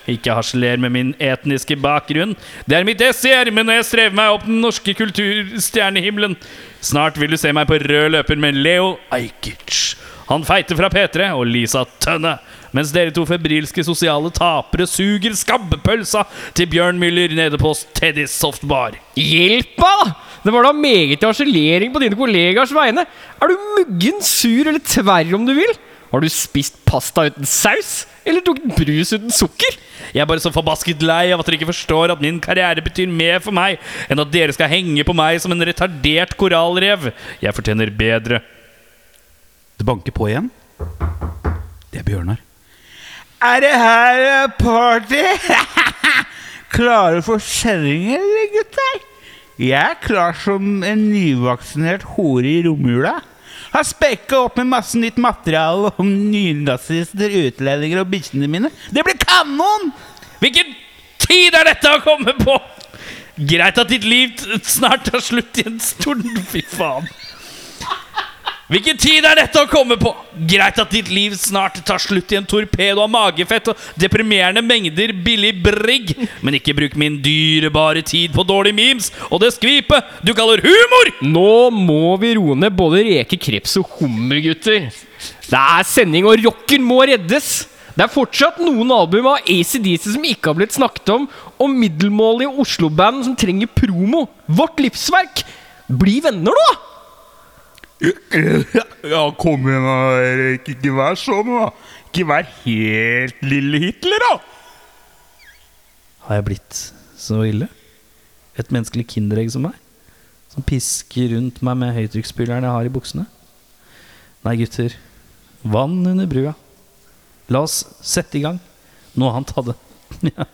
S1: Ikke harseler med min etniske bakgrunn. Det er mitt ess i ermet når jeg strever meg opp den norske kulturstjernehimmelen. Snart vil du se meg på rød løper med Leo Ajkic. Han feiter fra P3 og Lisa Tønne. mens dere to febrilske sosiale tapere suger skabbepølsa til Bjørn Müller nede på Teddys softbar.
S2: Hjelp meg, da! Det var da meget harselering på dine kollegaers vegne. Er du muggen, sur eller tverr om du vil? Har du spist pasta uten saus? Eller tok brus uten sukker?
S1: Jeg er bare så forbasket lei av at dere ikke forstår at min karriere betyr mer for meg enn at dere skal henge på meg som en retardert korallrev. Jeg fortjener bedre.
S3: Det banker på igjen. Det er Bjørnar. Er det her eh, party? Klare for kjerring, eller, gutter? Jeg er klar som en nyvaksinert hore i romjula. Har spekka opp med masse nytt materiale om nynazister, utlendinger og bikkjene mine. Det blir kanon!
S1: Hvilken tid er dette å komme på?! Greit at ditt liv t- snart tar slutt i en stund. Fy faen. Hvilken tid er dette å komme på? Greit at ditt liv snart tar slutt i en torpedo av magefett og deprimerende mengder billig brigg, men ikke bruk min dyrebare tid på dårlige memes og det skvipet du kaller humor!
S2: Nå må vi roe ned både reker, kreps og hummer, gutter. Det er sending, og rocken må reddes! Det er fortsatt noen album av ACDC som ikke har blitt snakket om, og middelmålige Oslo-band som trenger promo. Vårt livsverk! Bli venner, da!
S7: Ja, kom igjen, da. Erik. Ikke vær sånn, da. Ikke vær helt lille Hitler, da.
S1: Har jeg blitt så ille? Et menneskelig kinderegg som meg? Som pisker rundt meg med høytrykksspyleren jeg har i buksene? Nei, gutter. Vann under brua. La oss sette i gang. Noe annet hadde ja,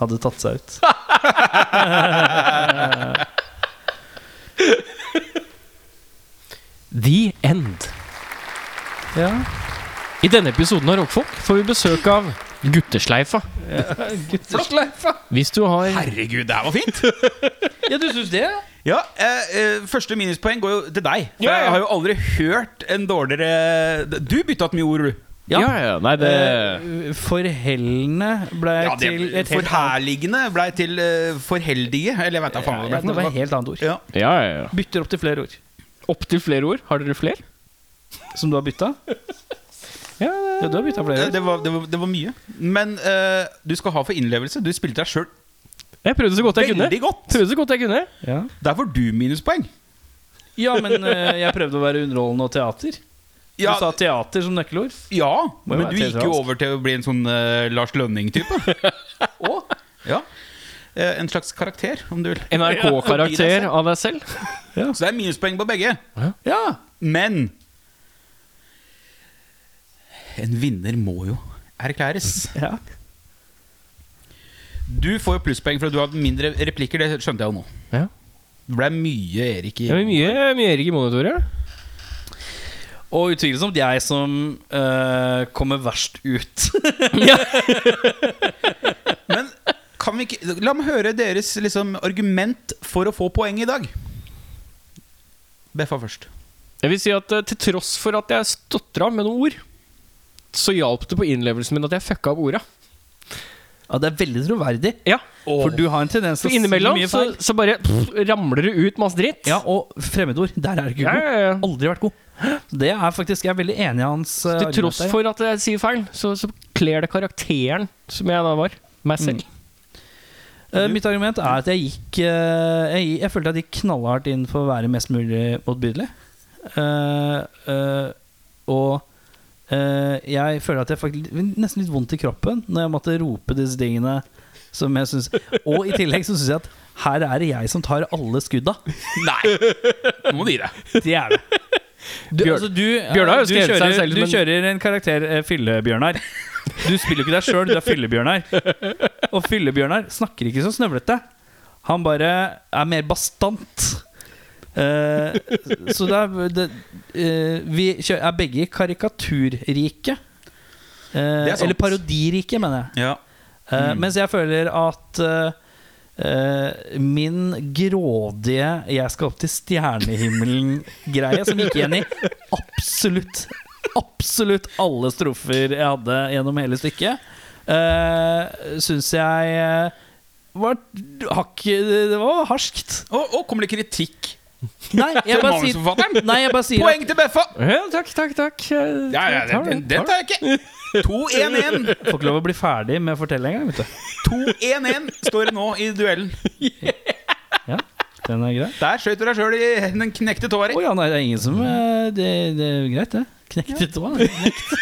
S1: hadde tatt seg ut.
S2: The End.
S1: Ja,
S2: I denne episoden av Rockfolk får vi besøk av Guttesleifa. Hvis du har
S3: Herregud, det her var fint!
S1: ja du syns det?
S3: Ja, eh, eh, Første minuspoeng går jo til deg. For
S2: Ja, ja.
S3: Jeg har jo aldri hørt en dårligere Du bytta ut mye ord, du.
S2: Ja, Eh, ja, ja nei, det
S1: Forhellende ble
S3: Ja, det,
S1: til et helt annet
S3: forherligende blei til eh, forheldige. Eller jeg vet da faen hva
S1: ja, Det
S3: for
S1: var
S3: noe.
S1: et helt annet ord.
S3: Ja.
S2: Ja, ja, ja.
S1: Bytter opp til flere ord.
S2: Opptil flere ord. Har dere flere?
S1: Som du har bytta?
S2: Ja,
S1: Ja, du har bytta flere ord.
S3: Det, Eh, det, var, det, var, det var mye. Men eh, du skal ha for innlevelse. Du spilte deg sjøl
S2: Jeg prøvde så godt jeg kunne.
S3: veldig godt.
S2: Prøvde så godt jeg kunne.
S1: Ja.
S3: Der får du minuspoeng.
S1: Ja, men eh, jeg prøvde å være underholdende og teater. Du
S3: Ja,
S1: sa teater som nøkkelord.
S3: ja
S1: Må jo
S3: men
S1: være
S3: du gikk jo
S1: teatralsk.
S3: over til å bli en sånn eh, Lars Lønning-type. Og ja. Eh, en slags karakter, om du vil.
S2: NRK-karakter av deg selv.
S3: Så det er minuspoeng på begge.
S1: Ja.
S3: Men En vinner må jo erklæres.
S1: ja.
S3: Du får jo plusspoeng for at du har hatt mindre replikker. Det skjønte jeg jo nå.
S2: Ja.
S3: Det ble mye Erik i
S2: Det blir mye, mye Erik i monitoret.
S1: Og utvilsomt jeg som eh, kommer verst ut.
S3: Men kan vi ikke La meg høre deres liksom, argument for å få poeng i dag. Beffa først.
S2: Jeg vil si at eh, til tross for at jeg stotra med noen ord, så hjalp det på innlevelsen min at jeg fucka opp orda.
S1: ja, det er veldig troverdig.
S2: Ja.
S1: For du har en tendens
S2: For
S1: til å si
S2: innimellom
S1: mye
S2: så,
S1: feil.
S2: så bare pff, ramler det ut masse dritt.
S1: Ja, og fremmedord. Der er du ikke
S2: Ja,
S1: god.
S2: ja, ja.
S1: Aldri vært god. Det er faktisk Jeg er veldig enig i hans eh,
S2: Til tross
S1: argument der.
S2: for at jeg sier feil, så, så kler det karakteren som jeg da var. Meg selv.
S1: Eh, mitt argument er at jeg gikk eh, jeg, jeg følte at jeg gikk knallhardt inn for å være mest mulig motbydelig. Eh, eh, og eh, jeg føler at jeg fikk litt- nesten litt vondt i kroppen når jeg måtte rope disse tingene. Som jeg synes, og i tillegg så syns jeg at her er det jeg som tar alle skudda.
S3: Nei! Nå må du gi deg.
S1: Det er det. Du,
S2: Bjørn-
S1: altså, du,
S2: Bjørnar har jo
S1: du,
S2: skrevet seg
S1: kjører,
S2: selv som
S1: du
S2: en-
S1: kjører en karakter eh, Fylle-Bjørnar. Du spiller jo ikke deg sjøl, du er Fylle-Bjørnar. Og Fylle-Bjørnar snakker ikke så snøvlete. Han bare er mer bastant. Eh, så det er det, eh, Vi kjø- er begge karikaturrike. Eh,
S3: Det er sant.
S1: eller parodirike, mener jeg.
S3: Ja.
S1: Eh, Mens jeg føler at eh, eh, min grådige 'jeg skal opp til stjernehimmelen'-greie, som gikk igjen i absolutt Absolutt alle strofer jeg hadde gjennom hele stykket, uh, syns jeg eh, var hakk Det var harskt.
S3: Å, å, kommer det kritikk?
S1: Nei, jeg bare sier,
S3: Manusforfatteren?
S1: nei, jeg bare sier at
S3: Poeng til Beffa!
S2: Ja, takk, takk, takk.
S3: Ja, ja, den, den, den tar jeg ikke. 2-1-1
S1: Får ikke lov å bli ferdig med å fortelle engang, vet du.
S3: 2-1-1 står det nå i duellen.
S1: Ja, den er grei.
S3: Der skjøt du deg sjøl i den knekte tåa
S1: Å
S3: di.
S1: ja, nei, det er ingen som eh, Det, det er greit, det. Knekt i tåa. det er knekt.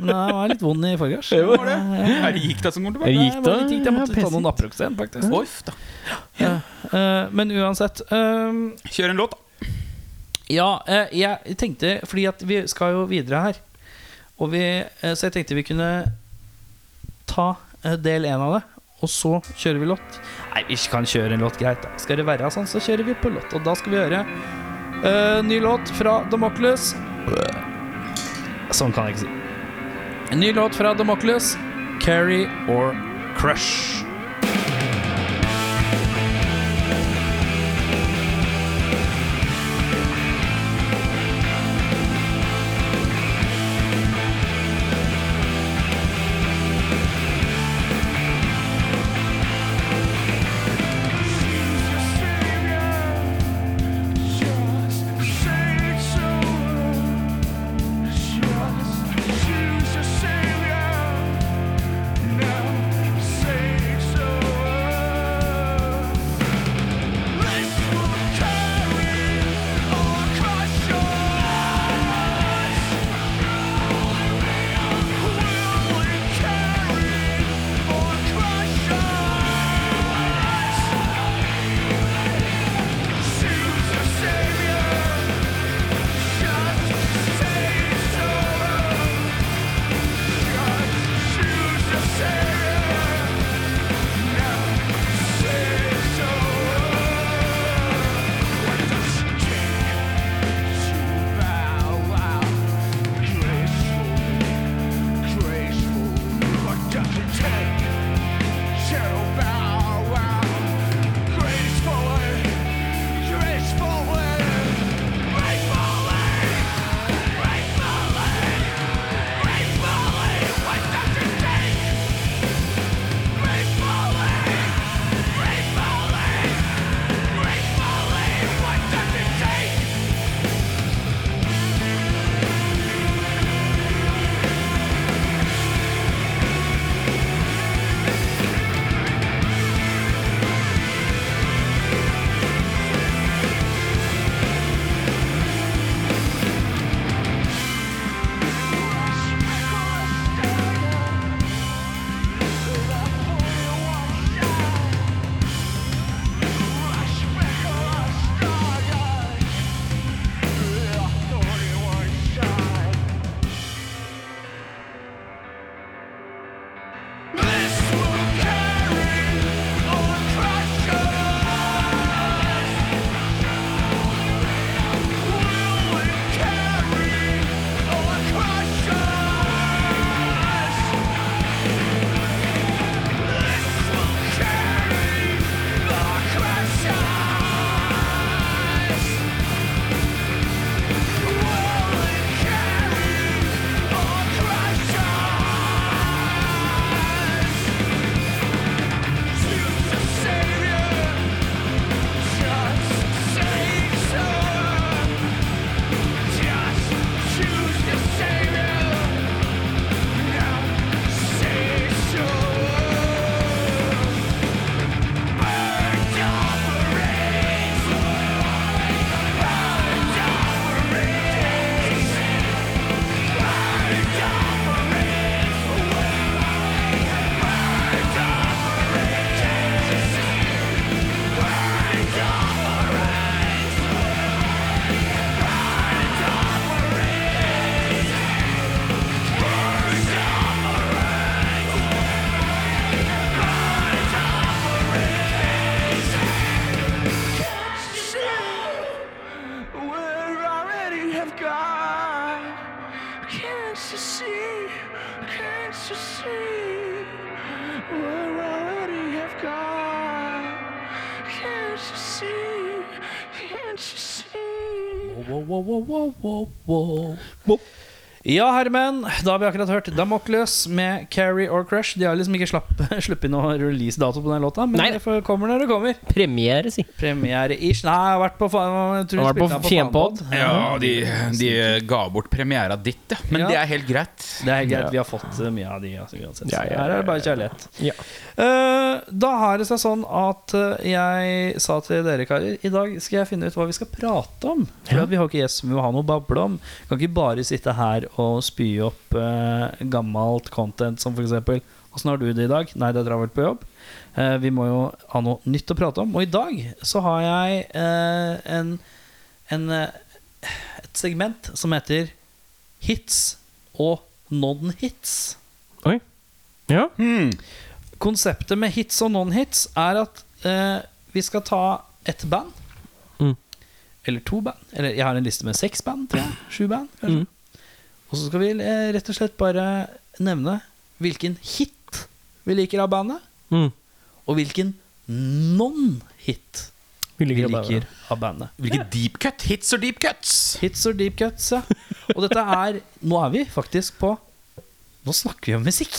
S1: Men jeg var litt vond i forgårs.
S3: Hva var det? Er det gikk da som kommer tilbake?
S1: Nei, jeg var
S2: da?
S1: litt gikt. Jeg måtte
S2: Ja,
S1: ta noen Aproxen, faktisk.
S3: Off, da.
S1: Eh, men uansett ehm,
S3: Kjør en låt, da.
S1: Ja, eh, jeg tenkte Fordi at vi skal jo videre her. Og vi, eh, så jeg tenkte vi kunne ta eh, del én av det. Og så kjører vi låt. Nei, vi kan kjøre en låt, greit. da Skal det være sånn, så kjører vi på låt. Og da skal vi høre eh, ny låt fra Democles. Sånn kan jeg ikke si. En ny låt fra Democles. 'Carry or Crush'. Ja, herremenn, da har vi akkurat hørt Damocles med Carrie or Crush. De har liksom ikke slapp, sluppet inn noen release-dato på den låta, men
S2: Nei.
S1: det får- kommer når det kommer.
S2: Premiere, si.
S1: Premiere-ish. Nei, jeg har vært på faen jeg tror
S2: Har vært
S1: jeg
S2: på
S1: spilte den
S2: Fjempod.
S1: Fanpod.
S3: Ja, de, de ga bort premiera ditt, ja. Men
S1: Ja.
S3: det er helt greit.
S1: Det er helt greit. Vi har fått eh, mye av de altså, uansett.
S2: Ja, ja, ja,
S1: Her er det bare kjærlighet.
S2: ja.
S1: Eh, da har det seg sånn at eh, jeg sa til dere karer I dag skal jeg finne ut hva vi skal prate om. For at vi har ikke gjest som vi må ha noe å bable om. Kan ikke bare sitte her og spy opp eh, gammelt content som f.eks. Åssen har du det i dag? Nei, det er travelt på jobb. Eh, vi må jo ha noe nytt å prate om. Og i dag så har jeg eh, en, en, eh, et segment som heter hits og non-hits.
S2: Oi. Ja.
S1: Konseptet med hits og non-hits er at eh, vi skal ta ett band.
S2: Mm.
S1: Eller to band. Eller jeg har en liste med seks band, tror jeg. Sju band, kanskje.
S2: Mm.
S1: Og så skal vi eh, rett og slett bare nevne hvilken hit vi liker av bandet,
S2: Mm.
S1: og hvilken non-hit
S2: Vi
S1: vi
S2: liker det.
S1: liker av bandet.
S3: Hvilke deep cut? Hits og deep cuts?
S1: Hits or deep cuts, ja. Og dette er Nå er vi faktisk på Nå snakker vi om musikk.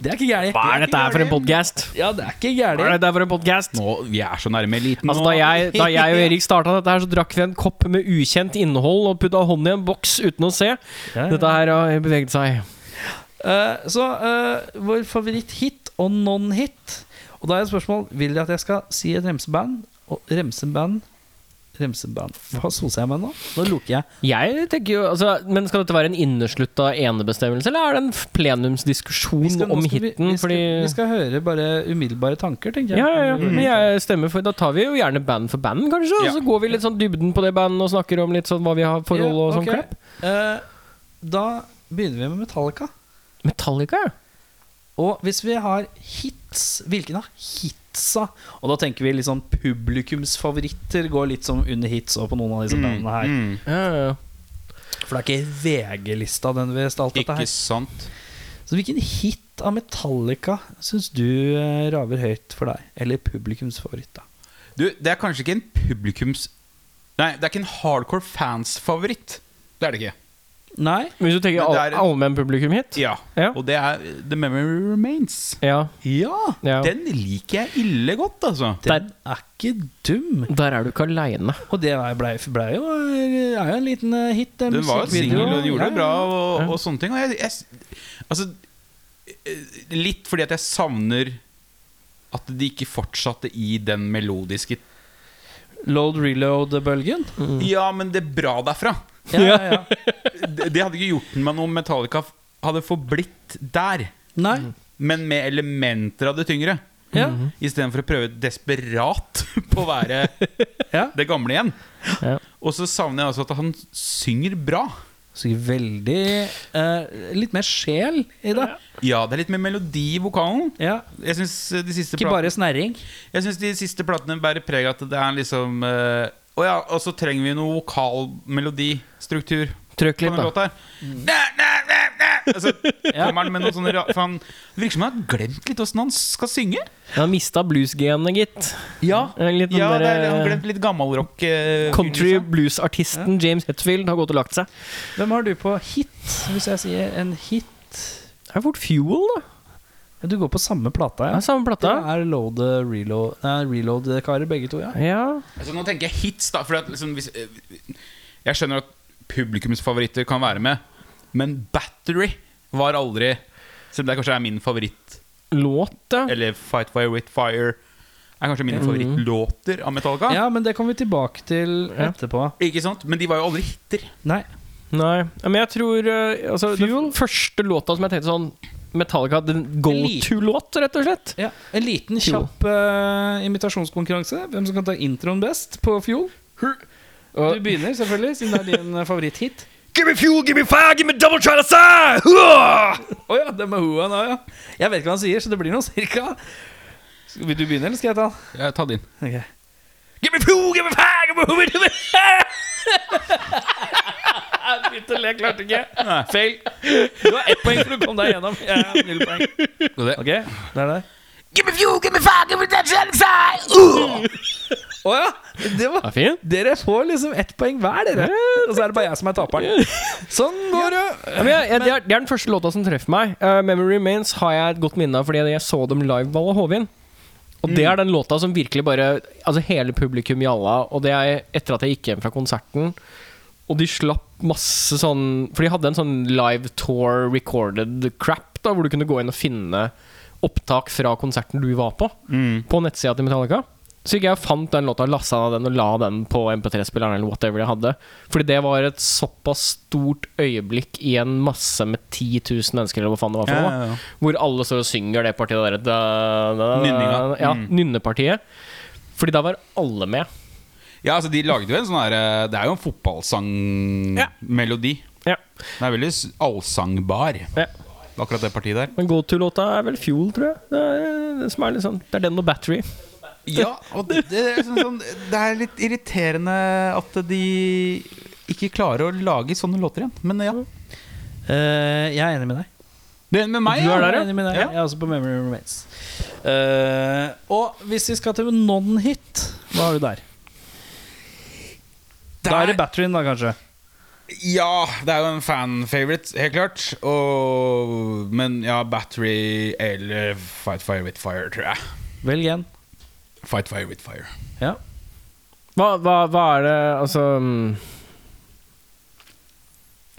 S1: Det er ikke gærent.
S2: Hva er dette her for en podcast?
S1: Ja, det er ikke
S2: Hva er
S1: gærent.
S2: dette her for en podcast?
S3: Nå, Vi er så nærme eliten
S2: Altså,
S3: nå.
S2: da, jeg, da jeg og Erik starta dette, her så drakk vi en kopp med ukjent innhold og putta hånden i en boks uten å se.
S1: ja.
S2: Dette her har beveget seg.
S1: Eh, så eh, vår favoritt-hit og non-hit. Og da er et spørsmål Vil dere at jeg skal si et remseband? Og remseband Remseband Hva soser jeg meg nå? Nå loker jeg.
S2: Jeg tenker jo, altså, men Skal dette være en inneslutta enebestemmelse, eller er det en f- plenumsdiskusjon
S1: Vi skal- nå
S2: om
S1: skal vi-
S2: hiten?
S1: vi, skal,
S2: fordi
S1: vi skal Mm. høre bare umiddelbare tanker, tenker jeg.
S2: ja, ja, ja. Men jeg stemmer for Da tar vi jo gjerne band for band, kanskje. Og
S3: Ja.
S2: så går vi litt sånn dybden på det bandet og snakker om litt sånn hva vi har forhold og
S1: Ja, ok.
S2: sånn crap.
S1: Eh, da begynner vi med Metallica.
S2: Metallica, ja.
S1: Og hvis vi har hits, hvilken av hitsa? Og da tenker vi litt sånn publikumsfavoritter går litt sånn under hits og på noen av disse bandene
S3: Mm.
S1: her.
S2: ja, ja, ja.
S1: For det er ikke VG-lista den vi stalt dette
S3: Ikke
S1: her.
S3: sant?
S1: Så hvilken hit av Metallica syns du eh, raver høyt for deg? Eller publikumsfavoritt, da?
S3: Du, det er kanskje ikke en publikums... Nei, det er ikke en hardcore fans-favoritt. Det er det ikke.
S1: Nei?
S2: Men Hvis du tenker
S3: Men
S2: all,
S3: det er en-
S2: allmenn publikum hit?
S3: Ja.
S2: Ja.
S3: Og det er The Memory Remains.
S2: Ja.
S1: Ja!
S2: ja.
S3: Den liker jeg ille godt, altså.
S1: Den er ikke dum.
S2: Der er du ikke aleine.
S1: Og det blei ble jo, er jo en liten eh, hit.
S3: Den var jo singel og den gjorde det bra og,
S2: Ja.
S3: og sånne ting. Og jeg, jeg, altså, eh, litt fordi at jeg savner at de ikke fortsatte i den melodiske
S1: Load reload-bølgen.
S3: Ja, men det er bra derfra.
S1: Ja, ja, ja.
S3: Det, det hadde ikke gjort meg noe om Metallica f- hadde forblitt der.
S1: Nei?
S3: Men med elementer av det tyngre.
S1: Ja.
S3: Istedenfor å prøve desperat på å være
S1: Ja.
S3: det gamle igjen.
S2: Ja.
S3: Og så savner jeg også at han synger bra.
S1: Så ikke veldig eh, Litt mer sjel i det.
S3: Ja, det er litt mer melodi i vokalen.
S1: Ja.
S3: Jeg synes eh, de siste
S1: Ikke
S3: plat-
S1: bare snerring.
S3: Jeg synes de siste platene bærer preg av at det er liksom eh, Å ja, og så trenger vi noe vokalmelodistruktur
S2: Trykk
S3: på
S2: litt,
S3: den
S2: da.
S3: låta her. Næ, næ, næ, næ. Og så kommer han med noen sånne ra- For han det virker som han har glemt litt åssen han skal synge.
S2: Jeg har mista blues-genene, gitt.
S3: Ja,
S2: Eh, Litt den
S3: ja det er, han har
S2: der, eh,
S3: glemt litt gammalrock. eh,
S2: country
S3: begynnelse.
S2: blues-artisten James Hetfield har gått og lagt seg.
S1: Hvem har du på hit, hvis jeg sier en hit?
S2: Det er fort Fuel, da.
S1: Ja, Du går på samme plata,
S2: Det
S1: ja.
S2: er samme
S1: Det
S2: plata.
S1: er load eh, reload Nei, reload-karer, begge to, ja.
S2: Ja.
S3: Altså, nå tenker jeg hits, da. For at, liksom, hvis, eh, jeg skjønner at publikumsfavoritter kan være med, men Battery var aldri Selv om det kanskje er min favoritt
S2: Låt, ja.
S3: Eller Fight Fire With Fire er kanskje mine favorittlåter av Metallica.
S1: Ja, men det kommer vi tilbake til
S2: Ja.
S1: etterpå.
S3: Ikke sant? Men de var jo aldri hiter.
S1: Nei.
S2: Nei, ja, men jeg tror eh, altså, Den første låta som jeg tenkte sånn Metallica, den go to-låt, rett og slett.
S1: Ja. En liten,
S2: Fjol.
S1: kjapp eh, imitasjonskonkurranse. Hvem som kan ta introen best på Fjol? Du begynner, selvfølgelig, siden det er din eh, favoritthit.
S2: Give me fuel, give me fire, give me double try altså! to say!
S1: Å ja, det med hoa nå, ja. Jeg vet ikke hva han sier, så det blir noe cirka. Skal- Vil du begynne, eller skal jeg ta den?
S3: Jeg tar din.
S1: Ok.
S2: Give me fuel, give me fire, give me hoover, give me
S1: Feil. Du har ett poeng for å komme deg gjennom. Jeg har null poeng.
S3: det-
S1: Ok, det er det.
S2: altså!
S5: Give me fuel, give me fire, give me that shit inside.
S1: Å ja! Det var
S2: Ja, fin.
S1: Dere får liksom ett poeng hver, dere. Og så er det bare jeg som er taperen. Sånn går det.
S2: Ja, men jeg, jeg, det, er, det er den første låta som treffer meg. Eh, 'Memory Remains' har jeg et godt minne av fordi jeg så dem live på Valle Hovin. Og det er den låta som virkelig bare Altså hele publikum gjalla. Og det er etter at jeg gikk hjem fra konserten, og de slapp masse sånn For de hadde en sånn live tour recorded crap, da hvor du kunne gå inn og finne opptak fra konserten du var på,
S3: Mm.
S2: på nettsida til Metallica. Så gikk jeg og fant den låta, lasta ned den og la den på MP3-spilleren eller whatever jeg hadde. Fordi det var et såpass stort øyeblikk i en masse med 10 000 mennesker, eller hva faen det var for noe.
S3: Ja, ja, ja.
S2: Hvor alle står og synger det partiet der. Da, da, da,
S3: Nynninga.
S2: Ja,
S3: Mm.
S2: nynnepartiet. Fordi da var alle med.
S3: Ja, altså De lagde jo en sånn her eh, Det er jo en fotballsangmelodi.
S2: Ja.
S3: Den er veldig s- allsangbar,
S2: ja.
S3: akkurat det partiet der.
S2: Men go to-låta er vel Fuel, tror jeg. Det er, det som er litt sånn, det er den og Battery.
S3: Ja, og det, det, er sånn, sånn, det er litt irriterende at de ikke klarer å lage sånne låter igjen. Men ja.
S1: Eh, jeg er enig med deg.
S3: Du er enig med meg?
S1: Du
S3: ja?
S1: er der, ja. Enig med deg.
S3: Ja.
S1: Jeg er også på Memory Remains. Eh, og hvis vi skal til non-hit, hva har du der? Da er det batterien, da, kanskje.
S3: Ja, det er jo en fan-favorite, helt klart. Og, men ja, Battery eller Fight Fire With Fire, tror jeg.
S1: Velg en.
S3: Fight Fire With Fire.
S1: Ja.
S2: Hva, hva, hva er det Altså mm,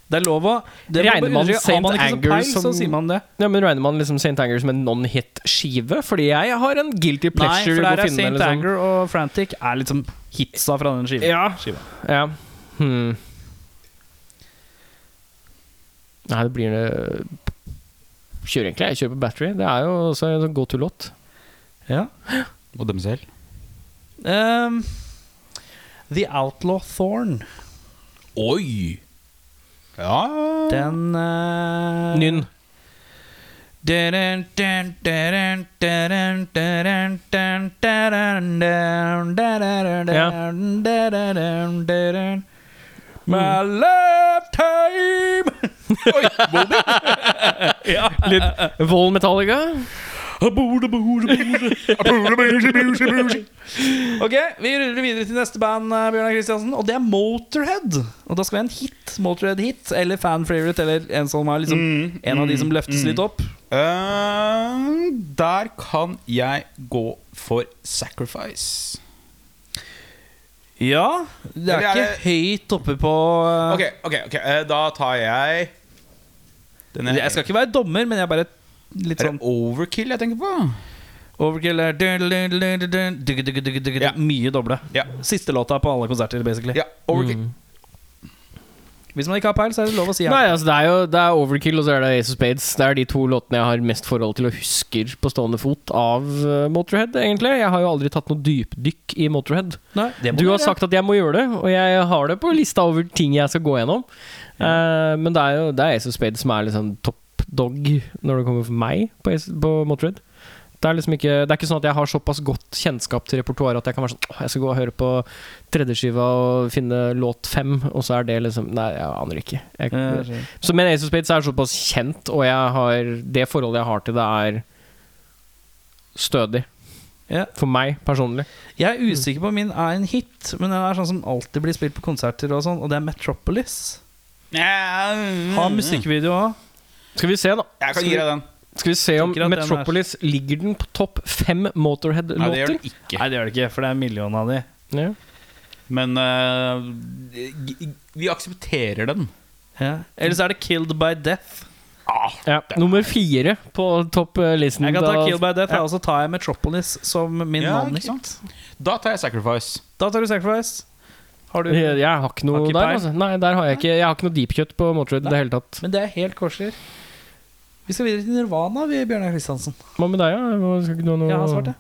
S1: Det er lov å det må
S2: Regner
S1: bare
S2: man
S1: understreke, har
S2: Saint
S1: man ikke så
S2: Anger
S1: peil, så
S2: som-
S1: sier man det.
S2: Ja, men Regner man liksom St. Anger som en non-hit-skive? Fordi jeg har en guilty
S1: Nei,
S2: pleasure.
S1: for
S2: å
S1: der er
S2: finne,
S1: Saint
S2: liksom.
S1: Anger og Frantic er liksom hitsa fra den skiva.
S2: Ja.
S1: skiva.
S2: Ja. Hmm. Nei, det blir det Kjører egentlig. Jeg kjører på Battery. Det er jo også en sånn go to-låt.
S1: Ja.
S3: Og dem selv.
S1: Ehm, The Outlaw Thorn.
S3: Oi! Ja
S1: Den eh,
S2: Nynn.
S1: Dun, dun, dun, dun, dun, dun, dun, dun, dun, dun, dun,
S2: Ja.
S1: dun, dun, dun, dun. My lifetime Eh,
S2: Vold Metallica.
S1: Ok, vi ruller videre til neste band, eh, Bjørnar Kristiansen. Og det er Motorhead. Og da skal vi ha en hit. Motorhead-hit, eller fan favorite, eller en som er liksom
S3: Mm,
S1: En av de som løftes litt opp.
S3: Eh, Der kan jeg gå for Sacrifice.
S1: Ja. Det er
S3: Eller er
S1: ikke høyt oppe på eh,
S3: Ok, ok, ok Eh, Da tar jeg denne
S1: Jeg skal ikke være dommer, men jeg er bare litt
S3: Er
S1: sånn
S3: det Overkill jeg tenker på?
S1: Overkill er dun, dun, dun, dun, dun, dugge, dugge, dugge, dugge,
S3: Ja.
S1: Mye doble.
S3: Ja.
S1: Siste låta på alle konserter, basically.
S3: Ja, Overkill.
S1: Hvis man ikke har peil, så er det lov å si
S2: Nei,
S1: ja.
S2: altså, det er jo det er Overkill og så er det Ace of Spades. Det er de to låtene jeg har mest forhold til og husker på stående fot av eh, Motorhead, egentlig. Jeg har jo aldri tatt noe dypdykk i Motorhead.
S1: Nei, det må
S2: Du har
S1: være.
S2: sagt at jeg må gjøre det, og jeg har det på lista over ting jeg skal gå gjennom.
S1: Mm.
S2: Eh, men det er jo det er Ace of Spades som er liksom top dog når det kommer for meg på, Ace, på Motorhead. Det er liksom ikke Det er ikke sånn at jeg har såpass godt kjennskap til repertoaret at jeg kan være sånn Åh, jeg skal gå og høre på tredjeskiva og finne låt fem, og så er det liksom Nei, jeg aner ikke. Jeg,
S1: Ja, jeg skjønner.
S2: så, men Ace of Spades er såpass kjent, og jeg har det forholdet jeg har til det, er stødig.
S1: Ja.
S2: For meg personlig.
S1: Jeg er usikker på om min er en hit, men den er sånn som alltid blir spilt på konserter, og sånn Og det er Metropolis. Har musikkvideo òg.
S2: Skal vi se, da.
S3: Jeg kan gi deg den.
S2: Skal vi se om
S1: Tenker at den er-
S2: Metropolis ligger den på topp fem
S3: Nei, det gjør
S2: Motorhead-låter?
S3: den ikke.
S1: Nei, det gjør det ikke, for det er en million av de.
S2: Ja.
S3: Men eh, g- vi aksepterer den.
S1: Ja. Eller så er det Killed by Death.
S2: Ja. Nummer fire på eh, topplisten.
S1: Jeg kan ta Killed by Death, og så tar jeg Metropolis som min
S3: Ja,
S1: mann.
S3: ikke sant? Da tar jeg Sacrifice.
S1: Da tar du Sacrifice. Har du
S2: Jeg, jeg har ikke noe
S1: Har ikke
S2: der,
S1: peil.
S2: altså. Nei, der har jeg ikke Jeg har ikke noe deepcut på Motorhead i det hele tatt.
S1: Men det er helt korslig. Vi skal videre til Nirvana, vi, Bjørnar Kristiansen.
S2: Hva med deg, ja? Hva- Skal ikke du ha noe
S1: Jeg har svart, jeg.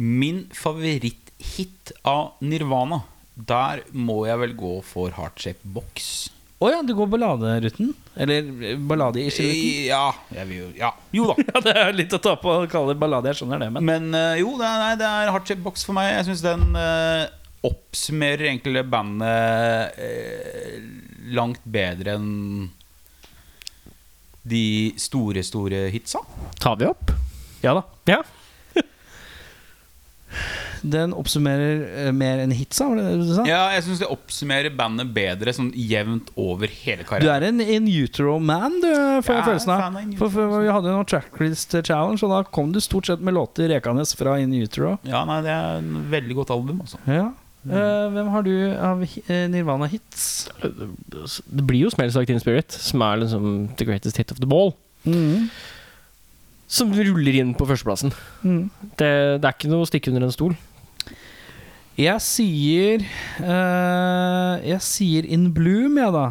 S3: Min favoritthit av Nirvana. Der må jeg vel gå for Heartshaped Box.
S1: Å ja, du går balladeruten? Eller ballade i ruten
S3: Eh, Ja, jeg vil jo Ja, jo da.
S1: Ja, det er litt å ta på å kalle det ballade, jeg skjønner det, men
S3: Men eh, jo, det er, nei, det er Heartshaped Box for meg. Jeg syns den eh, oppsummerer egentlig det bandet eh, langt bedre enn de store, store hitsa.
S2: Tar vi opp?
S1: Ja da.
S2: Ja.
S1: sånn, den oppsummerer eh, mer enn hitsa, var det det du sa?
S3: Ja, jeg syns det oppsummerer bandet bedre sånn jevnt over hele
S1: Du
S3: karrieren.
S1: er en in utero man, du, får jeg
S3: Ja,
S1: følelsen
S3: faen,
S1: av.
S3: in utero.
S1: For, for Vi hadde jo noen tracklist challenge, og da kom du stort sett med låter rekende fra in utero.
S3: Ja, nei, det er en veldig godt album, altså.
S1: Ja. Eh, hvem har du av hi- eh, Nirvana hits?
S2: Det blir jo 'Smells Like Teen Spirit', som er liksom the greatest hit of the ball. Som ruller inn på førsteplassen.
S1: Mm.
S2: Det, det er ikke noe å stikke under en stol.
S1: Jeg sier eh, Jeg sier In Bloom, jeg, da.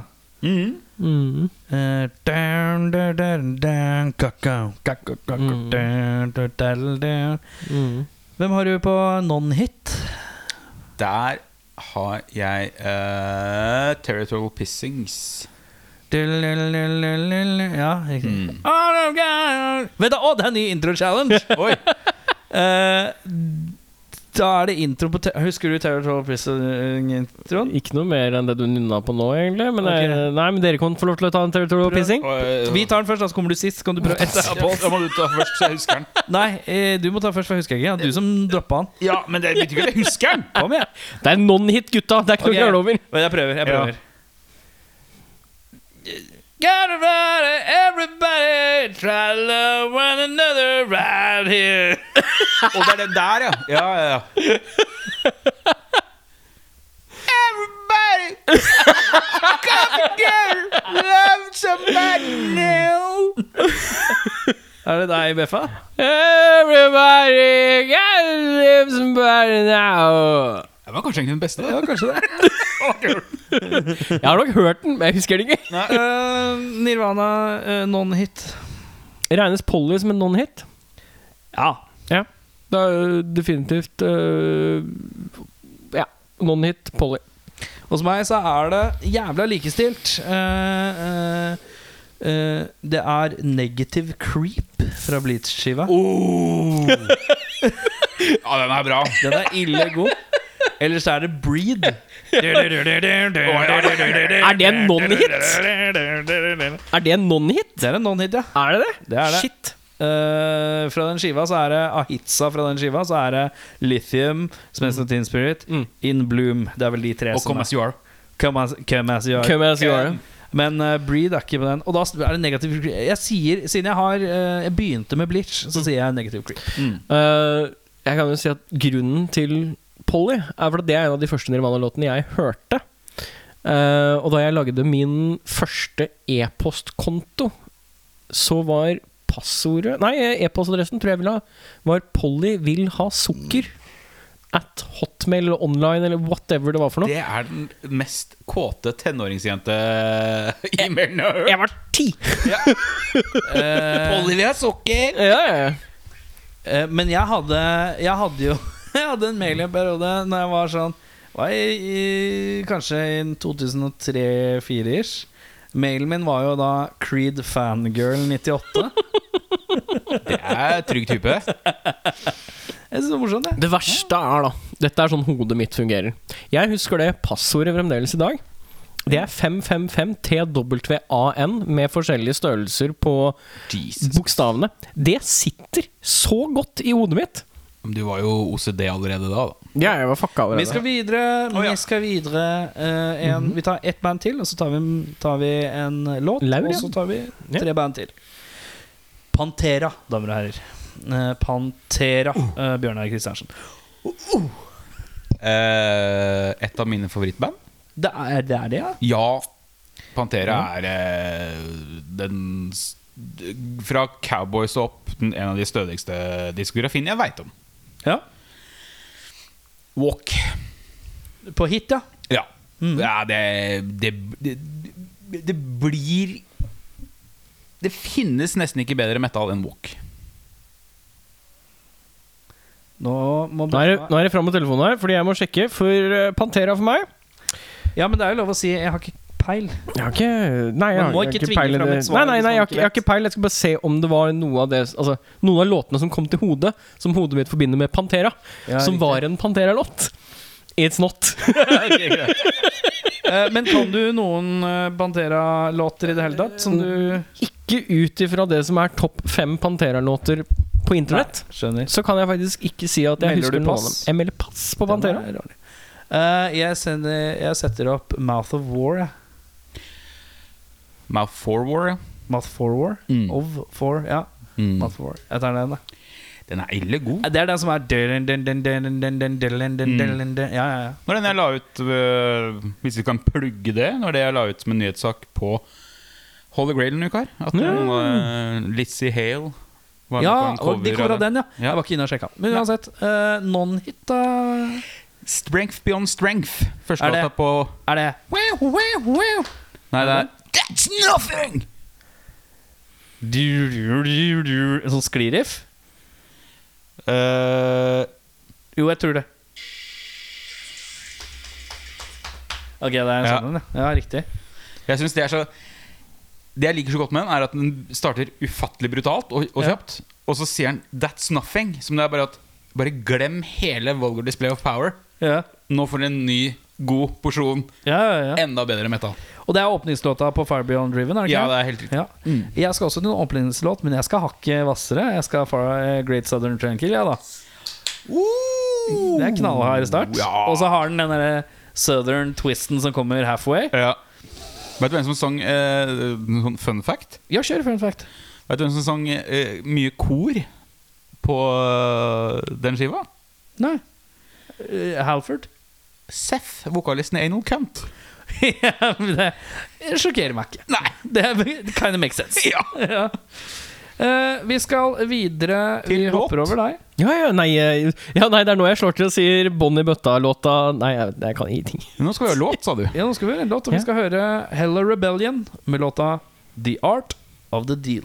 S2: Mm.
S1: Eh, dun, dun, dun, dun, kakao, kakao, kakao,
S2: Mm.
S1: dun, dun, dun, dun.
S2: Mm.
S1: Hvem har du på non-hit?
S3: Der har jeg eh, Territorial Pissings.
S1: Dun, dun, dun, dun, dun, dun. Ja, riktig.
S3: Mm.
S1: All I've got- Vent da, å, det er en ny intro-challenge!
S3: Oi!
S1: Eh, da er det intro på te Husker du Territorial Eh, Prison-introen?
S2: Ikke noe mer enn det du nynna på nå, egentlig. Men,
S1: Ok.
S2: eh, nei, men dere kan få lov til å ta en territorial pissing.
S1: Vi tar den først, da, så kommer du sist. Kan du prøve å ette her på oss?
S3: Da må du ta først, så jeg husker den.
S1: Nei, eh, du må ta først, for jeg husker ikke. Det er Du som droppa den.
S3: Ja, men det betyr ikke at jeg husker den!
S1: Kom igjen.
S2: Det er non-hit, gutta! Det er ikke noe å
S1: Ok.
S2: klage over.
S1: Men jeg prøver. Jeg prøver. Get around it, everybody, try to love one another right here.
S3: Og det er den der, ja. ja, ja, ja. Everybody come together, love somebody new.
S1: Er det deg, Beffa?
S2: Everybody can live somebody now.
S3: Det var kanskje egentlig den beste.
S1: Ja, kanskje det.
S2: Jeg har nok hørt den, men jeg husker den ikke.
S1: Eh, Nirvana eh, non-hit.
S2: Regnes Polly som en non-hit?
S1: Ja.
S2: Ja. Det er øh, definitivt øh, Ja, non-hit Polly.
S1: Hos meg så er det jævla likestilt. Eh, eh, eh, det er Negative Creep fra Bleach-skiva.
S3: Oh. Ja, den er bra.
S1: Den er ille god. Ellers er det Breed. Det
S2: Er det en non-hit? Er det en non-hit?
S1: er en non-hit, ja.
S2: Er det det?
S1: Det er det.
S2: Shit.
S1: Eh, fra den skiva så er det av hitsa fra den skiva så er det Lithium, Spencer Teen Spirit,
S2: Mm.
S1: In Bloom. Det er vel de tre
S3: Og Come As You Are.
S1: Come As, come as You Are.
S2: Come as you are.
S1: Men eh, Breed er ikke på den. Og da er det negativ creep. Jeg sier, Siden jeg har eh, Jeg begynte med Bleach,
S2: Mm.
S1: så sier jeg negative creep.
S2: Øh, jeg kan jo si at grunnen til Polly er fordi det er en av de første Nirvana-låtene jeg hørte. Øh, og da jeg lagde min første e-postkonto, så var passordet Nei, e-postadressen tror jeg ville ha var 'Polly vil ha sukker'. At hotmail eller online eller whatever det var for noe.
S3: Det er den mest kåte tenåringsjente i mailen jeg har hørt.
S2: Jeg var ti!
S3: Olivia Sukker.
S2: Ja, ja, ja.
S1: Eh, men jeg hadde, jeg hadde jo Jeg hadde en mail i en periode Når jeg var sånn var i, i, Kanskje i 2003-2004-ish Mailen min var jo da Creed Fangirl 98
S3: Det er trygg type.
S1: Jeg synes det var morsomt det
S2: Det verste er da Dette er sånn hodet mitt fungerer Jeg husker det passordet fremdeles i dag Det er 555TWAN Med forskjellige størrelser på
S3: Jesus.
S2: bokstavene Det sitter så godt i hodet mitt
S3: Du var jo OCD allerede da. da.
S2: Ja, jeg var fucka
S1: Vi skal videre,
S3: ja.
S1: vi, skal videre eh, en, vi tar ett band til Og så tar vi, tar vi en låt
S2: Laur,
S1: Og
S2: ja.
S1: så tar vi
S2: Ja.
S1: tre band til Pantera, damer og herrer Eh, Pantera, uh, Bjørnar Kristiansen
S3: Eh, et av mine favorittband.
S1: Det er det, er det ja
S3: Ja, Pantera er eh, den s- d- Fra Cowboys og opp den, en av de stødigste diskografiene jeg veit om.
S1: Ja,
S3: Walk.
S1: på hit ja
S3: Ja. ja det, det, det, det blir Det finnes nesten ikke bedre metal enn walk.
S1: Nå må
S2: nå er, det, nå er det frem med telefonen her Fordi jeg må sjekke For eh, Pantera for meg
S1: Ja, men det er jo lov å si 'jeg har ikke peil'.
S2: Jeg har ikke Nei, jeg
S1: Man
S2: har,
S1: må
S2: jeg
S1: ikke
S2: har ikke
S1: tvinge
S2: peil i
S1: fram
S2: det.
S1: et svar
S2: Nei, nei,
S1: hvis
S2: nei, jeg
S1: man ikke
S2: har, ikke- jeg har ikke peil. Jeg skal bare se om det var noe av det Altså, noen av låtene som kom til hodet, som hodet mitt forbinder med Pantera,
S1: Ja,
S2: som
S1: riktig.
S2: var en Pantera-låt. It's not.
S1: Eh, men kan du noen eh, Pantera-låter i det hele tatt? Som du
S2: ikke ut ifra det som er topp fem Pantera-låter på internett,
S1: Skjønner.
S2: så kan jeg faktisk ikke si at jeg
S1: Melder
S2: husker
S1: du
S2: noen av dem.
S1: pass?
S2: Jeg melder pass på Pantera.
S1: Den er dårlig. Eh, jeg, sender, jeg setter opp Mouth of War. jeg.
S3: Mouth for War, ja.
S1: Mouth for War.
S3: Mm.
S1: Of for, ja. Mouth for War. Jeg tar den, da.
S3: Den er ille god.
S1: Mm. Det er den som er dun, dun, dun, dun, dun, dun, dun, dun, dun,
S3: Mm.
S1: dun, dun. Ja, ja, ja.
S3: Når den jeg la ut øh, Hvis vi kan plugge det Når det jeg la ut som en nyhetssak på Holy Grail en uke her At noen, øh, Lizzie Hale var med
S1: Ja,
S3: på en
S1: og de
S3: cover
S1: kåra den, ja.
S3: Ja.
S1: Jeg var ikke inne og sjekka. Men uansett, eh, non-hit, da
S3: Strength Beyond Strength. Første
S1: Er det-
S3: låta på
S1: er det
S3: Nei, det er That's nothing!
S1: du, du, du, du, En sånn skliriff?
S3: Eh,
S1: Jo, jeg tror det. Ok, det er en
S3: Ja.
S1: sånn en, ja. ja. Riktig.
S3: jeg synes det er så Det jeg liker så godt med den, er at den starter ufattelig brutalt og, og
S1: Ja.
S3: kjapt. Og så sier den 'That's nothing'. Som det er bare at Bare glem hele Vulgar Display of Power.
S1: Ja,
S3: Nå får du en ny, god porsjon.
S1: ja, ja, ja.
S3: Enda bedre metal.
S1: Og det er åpningslåta på Fire Beyond Driven? er det
S3: Ja,
S1: ikke?
S3: det er helt riktig.
S1: Ja. Jeg skal også til en åpningslåt, men jeg skal hakke hvassere. Jeg skal far eh, Great Southern Tranquil, ja da. Det er knallhard start.
S3: Ja.
S1: Og så har den den derre southern twisten som kommer halfway.
S3: Ja. Vet du hvem som sang eh, sånn Fun fact?
S1: Ja, kjør fun fact.
S3: Vet du hvem som sang eh, mye kor på eh, den skiva?
S1: Nei. Eh, Halford?
S3: Seth, vokalisten i Anal Cunt.
S1: ja, men det sjokkerer meg ikke. Nei. Det kind of makes sense.
S3: Ja.
S1: Ja. Eh, vi skal videre. vi
S3: Til
S1: hopper
S3: låt.
S1: over deg.
S2: Ja, ja, nei, eh, ja, nei, det er nå jeg slår til og sier Bonnie Bøtta-låta Nei, jeg, jeg kan ingenting.
S3: Nå skal vi ha låt, sa du.
S1: Ja, nå skal vi høre en låt, og vi
S2: Ja.
S1: skal høre Hella Rebellion med låta The Art of the Deal.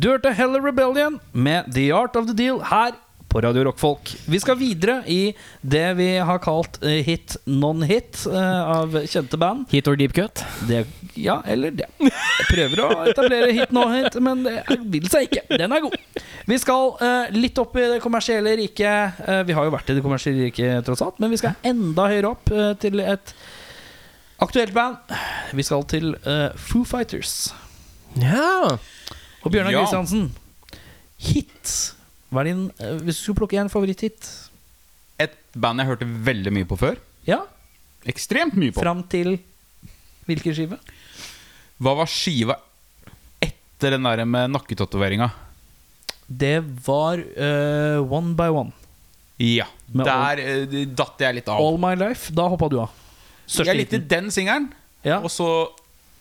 S1: Du hørte Heller Rebellion med The Art of the Deal her på Radio Rockfolk. Vi skal videre i det vi har kalt eh, hit non-hit eh, av kjente band.
S2: Hit or deep cut?
S1: Det, ja, eller det. Jeg prøver å etablere hit non-hit, men det er- vil seg ikke. Den er god. Vi skal eh, litt opp i det kommersielle riket. Eh, vi har jo vært i det kommersielle riket, tross alt, men vi skal enda høyere opp eh, til et aktuelt band. Vi skal til eh, Foo Fighters.
S2: Ja.
S1: Og Bjørnar
S3: Ja.
S1: Kristiansen, hit. Hva er din eh, Hvis du skulle plukke en favoritthit?
S3: Et band jeg hørte veldig mye på før.
S1: Ja,
S3: Ekstremt mye på.
S1: fram til hvilken skive?
S3: Hva var skiva etter den der med nakketatoveringa?
S1: Det var eh, One by One.
S3: Ja.
S1: Med
S3: Der eh, datt jeg litt av.
S1: All My Life. Da hoppa du av. Største
S3: jeg likte
S1: hiten.
S3: den singelen,
S1: Ja.
S3: og så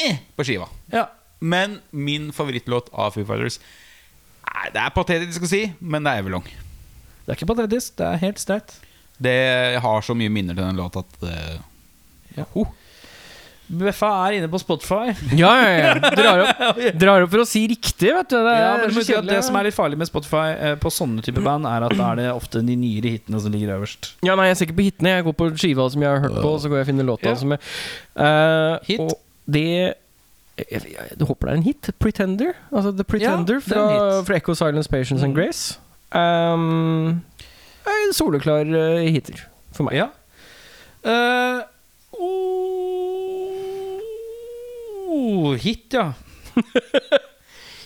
S3: eh, på skiva.
S1: Ja.
S3: Men min favorittlåt av Foo Fighters Nei, Det er patetisk å si, men det er Everlong.
S1: Det er ikke patetisk, det er helt sterkt.
S3: Det jeg har så mye minner til den låta at eh,
S1: Beffa er inne på Spotify.
S2: Ja, ja, ja. Drar opp, drar opp for å si riktig, vet du. Det er
S1: Ja, Eh, men
S2: så
S1: du må si at
S2: kjedelig.
S1: det som er litt farlig med Spotify eh, på sånne type band, er at da er det ofte de nyere hitene som ligger øverst.
S2: Ja, nei, jeg ser ikke på hitene. Jeg går på skiva som jeg har hørt på, og så går jeg og finner låta
S1: Ja.
S2: som jeg Eh,
S1: Hit.
S2: Og det jeg, jeg, jeg håper det er en hit. 'Pretender'. Altså The Pretender
S1: det er
S2: fra,
S1: en hit. Mm.
S2: fra Echo Silence Patience and Grace. Um, en soleklar eh, hitter for meg.
S1: Ja. Eh, oh, hit, ja.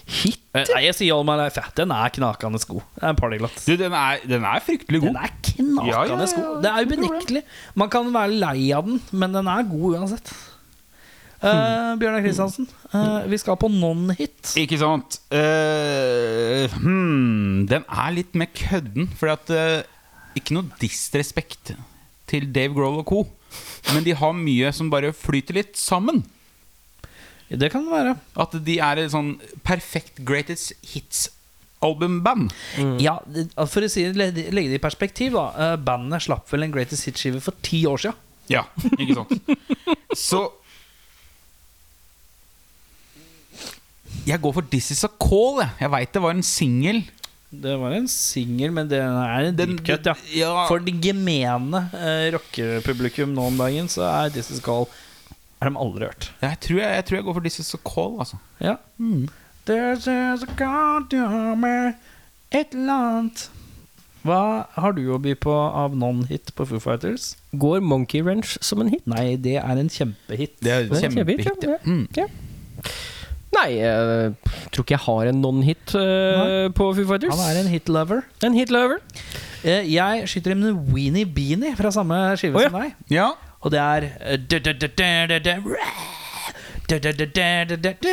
S2: Hit?
S1: Eh, Nei, jeg sier All My Life. ja. Den er knakende god. Det er en partyglatt.
S3: du, den, er, den er fryktelig
S1: Den
S3: god.
S1: er knakende
S3: Ja, ja, ja,
S1: god. Det er ubenektelig. Man kan være lei av den, men den er god uansett. Eh, Bjørnar Kristiansen, eh, vi skal på non-hit.
S3: Ikke sant? Eh, hmm, den er litt mer kødden, Fordi at eh, Ikke noe disrespekt til Dave Grohl og co., men de har mye som bare flyter litt sammen.
S1: Det kan det være.
S3: At de er et sånn perfekt greatest hits-albumband.
S1: Ja, det- altså, For å si, det- legge det i perspektiv, da. eh, Bandet slapp vel en Greatest Hit-skive for ti år siden.
S3: Ja, ikke sant? Så Jeg går for This Is A Call. Jeg, jeg veit det var en singel.
S1: Det var en singel, men det er en
S3: Den-
S1: deep cut, ja.
S3: ja.
S1: For det gemene eh, rockepublikum nå om dagen, så er This Is Call Har de aldri hørt.
S3: Jeg, tror jeg, jeg tror jeg går for This Is A Call. Altså.
S1: Ja. This is a call to me, et eller annet Hva har du å by på av non-hit på Foo Fighters?
S2: Går Monkey Wrench som en hit?
S1: Nei, det er en kjempehit.
S3: Det er
S2: Det er en
S3: kjempehit.
S2: kjempehit,
S3: Ja.
S2: ja.
S1: Mm.
S2: Ja. Nei, jeg tror ikke jeg har en non-hit eh, på Foo Fighters.
S1: Han er en hitlover.
S2: en hitlover.
S1: Eh, jeg skyter inn en Weenie Beanie fra samme skive
S2: Å, ja.
S1: som deg.
S3: Ja.
S1: Og det er eh, du-du-du-du-du-du, rah!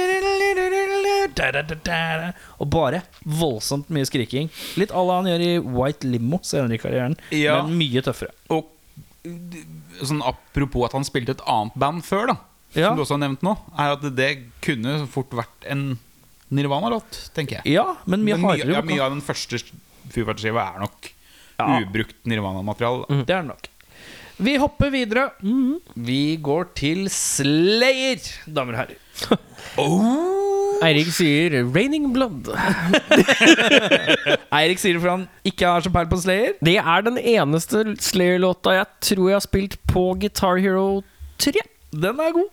S1: Du-du-du-du-du-du-du-du-du-du-du-du-du-du-du-du-du-du-du-du-du-du-du-du-du-du-du-du-du-du-du-du. Og bare voldsomt mye skriking. Litt à la han gjør i White Limo senere i karrieren,
S3: Ja.
S1: men mye tøffere.
S3: Og d- sånn apropos at han spilte et annet band før, da,
S1: Ja.
S3: som du også har nevnt nå, er at det kunne fort vært en Nirvana-låt, tenker jeg.
S1: Ja, men mye
S3: Men mye,
S1: hardere.
S3: ja,
S1: vokal.
S3: mye av den første fyrverkeriskiva er nok
S1: Ja.
S3: ubrukt Nirvana-materiale. da.
S1: Det er det nok. Vi hopper videre. Vi går til Slayer, damer og herrer.
S2: Eirik sier 'Raining Blood'.
S1: Eirik sier for han ikke har så peil på Slayer.
S2: Det er den eneste Slayer-låta jeg tror jeg har spilt på Guitar Hero 3.
S1: Den er god.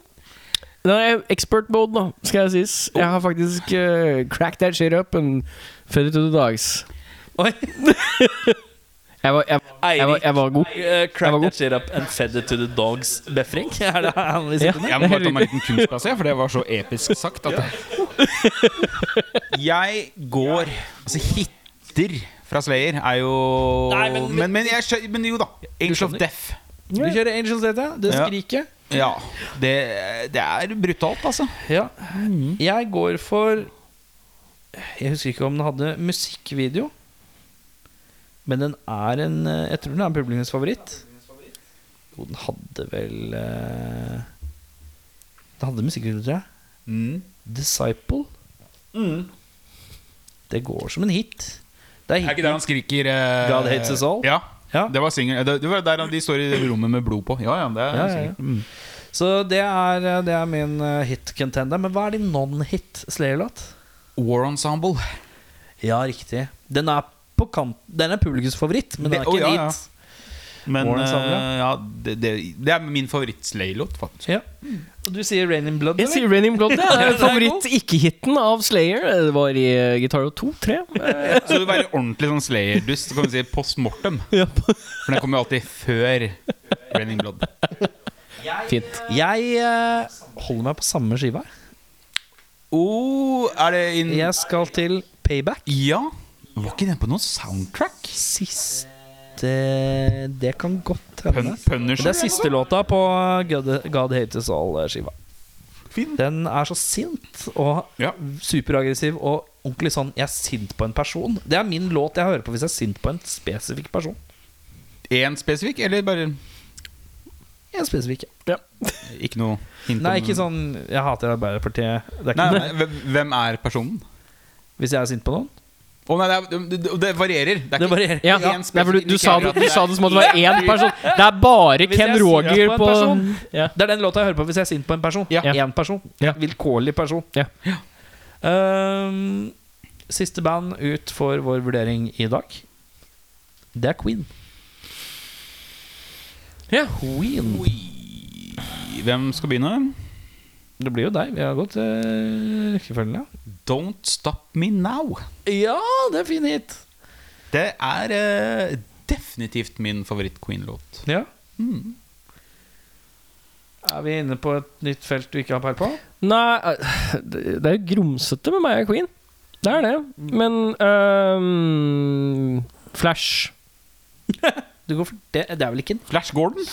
S2: Den er expert mode, da, skal jeg sies. Jeg har faktisk eh, cracked that shit up and fed it to the dogs.
S1: Oi.
S2: Jeg var, jeg, jeg var, jeg var god.
S1: Eh,
S2: Jeg var
S1: Crack
S2: god.
S1: that shit up and fed it to the dogs befring. Er det han vi
S2: Ja.
S1: sitter med?
S3: Jeg må bare ta meg en liten kunstpause, for det var så episk sagt. At jeg går Altså, hitter fra Slayer er jo
S1: Nei, men-
S3: men, men, jeg skjø- men jo da. Angel of Death.
S1: Du kjører Angels Data, det
S3: Ja.
S1: skriket.
S3: Ja. Det, det er brutalt, altså.
S1: Ja. Jeg går for Jeg husker ikke om den hadde musikkvideo. Men den er en eh, Jeg tror den er publikums favoritt. Jo, den hadde vel eh, Den hadde musikkvideo, tror jeg.
S3: Mm.
S1: Disciple. Det går som en hit. Det er
S3: Er ikke
S1: hiten.
S3: der han skriker eh,
S1: God hates us all?
S3: Ja.
S1: Ja.
S3: Det var singel. Det, det var der han- de står i det rommet med blod på. Ja, ja, det er
S1: Ja, ja,
S3: singel.
S1: ja. Så det er, eh, det er min eh, hit contender. Men hva er din non-hit Slayer-låt?
S3: War Ensemble.
S1: Ja, riktig. Den er på kant Den er publikums favoritt, men den er
S3: Det-
S1: ikke
S3: å,
S1: en
S3: ja, ja.
S1: hit.
S3: Men
S1: War Ensemble, ja.
S3: eh, ja, det, det, det er min favoritt-Slay-låt, faktisk.
S1: Ja. Mm. Og du sier Rain in Blood,
S2: Jeg sier Raining Blood. Det
S1: Ja,
S2: er
S1: det er
S2: favoritt-ikke-hiten av Slayer. Det var i eh, Guitar Hero 2, 3.
S3: Så du vil være ordentlig sånn Slayer-dust, så kan vi si post mortem. For den kommer jo alltid før Raining Blood.
S2: Fint.
S1: Jeg eh, holder meg på samme skiva.
S3: Oh, er det inn
S1: Jeg skal til Payback.
S3: Ja. Var ikke den på noen soundtrack?
S1: Siste Det kan godt hende.
S3: Pun Punisher?
S1: Det er siste låta på God, God Hates Us All-skiva.
S3: Fin.
S1: Den er så sint og
S3: Ja.
S1: superaggressiv og ordentlig sånn 'jeg er sint på en person'. Det er min låt jeg hører på hvis jeg er sint på en spesifikk person.
S3: Én spesifikk, eller bare
S1: En spesifikk.
S3: ikke noe hint?
S1: Nei,
S3: om-
S1: ikke sånn 'jeg hater Arbeiderpartiet'. Det er ikke
S3: Nei,
S1: noe.
S3: nei, hvem- Hvem er personen?
S1: Hvis jeg er sint på noen.
S3: Å nei, det, er, det, det varierer. Det er
S1: Det
S3: ikke
S1: varierer.
S2: Ja,
S3: Én
S2: Nei, for du, du,
S3: spesifikk
S2: sa det, du
S3: individuell.
S2: sa det som at det var én person. Det er bare
S1: Hvis jeg
S2: Ken
S1: er sint
S2: Roger
S1: en
S2: på
S1: person.
S2: ja.
S1: Det er den låta jeg hører på hvis jeg er sint på en person.
S3: Ja.
S1: En person.
S2: Ja.
S1: Vilkårlig person.
S2: Ja.
S1: Ehm, siste band ut for vår vurdering i dag, det er Queen.
S2: Ja.
S1: Queen.
S3: Hvem skal begynne?
S1: Det blir jo deg. Vi har gått eh, rekkefølgen, ja.
S3: Don't Stop Me Now.
S1: Ja, det er fin hit.
S3: Det er eh, definitivt min favoritt-Queen-låt.
S1: Ja. Er vi inne på et nytt felt du ikke har peil på?
S2: Nei, eh, det det er jo grumsete med meg og Queen. Det er det. Men øhm, Flash
S1: Du går for det. det er vel ikke en
S3: Flash Gordon.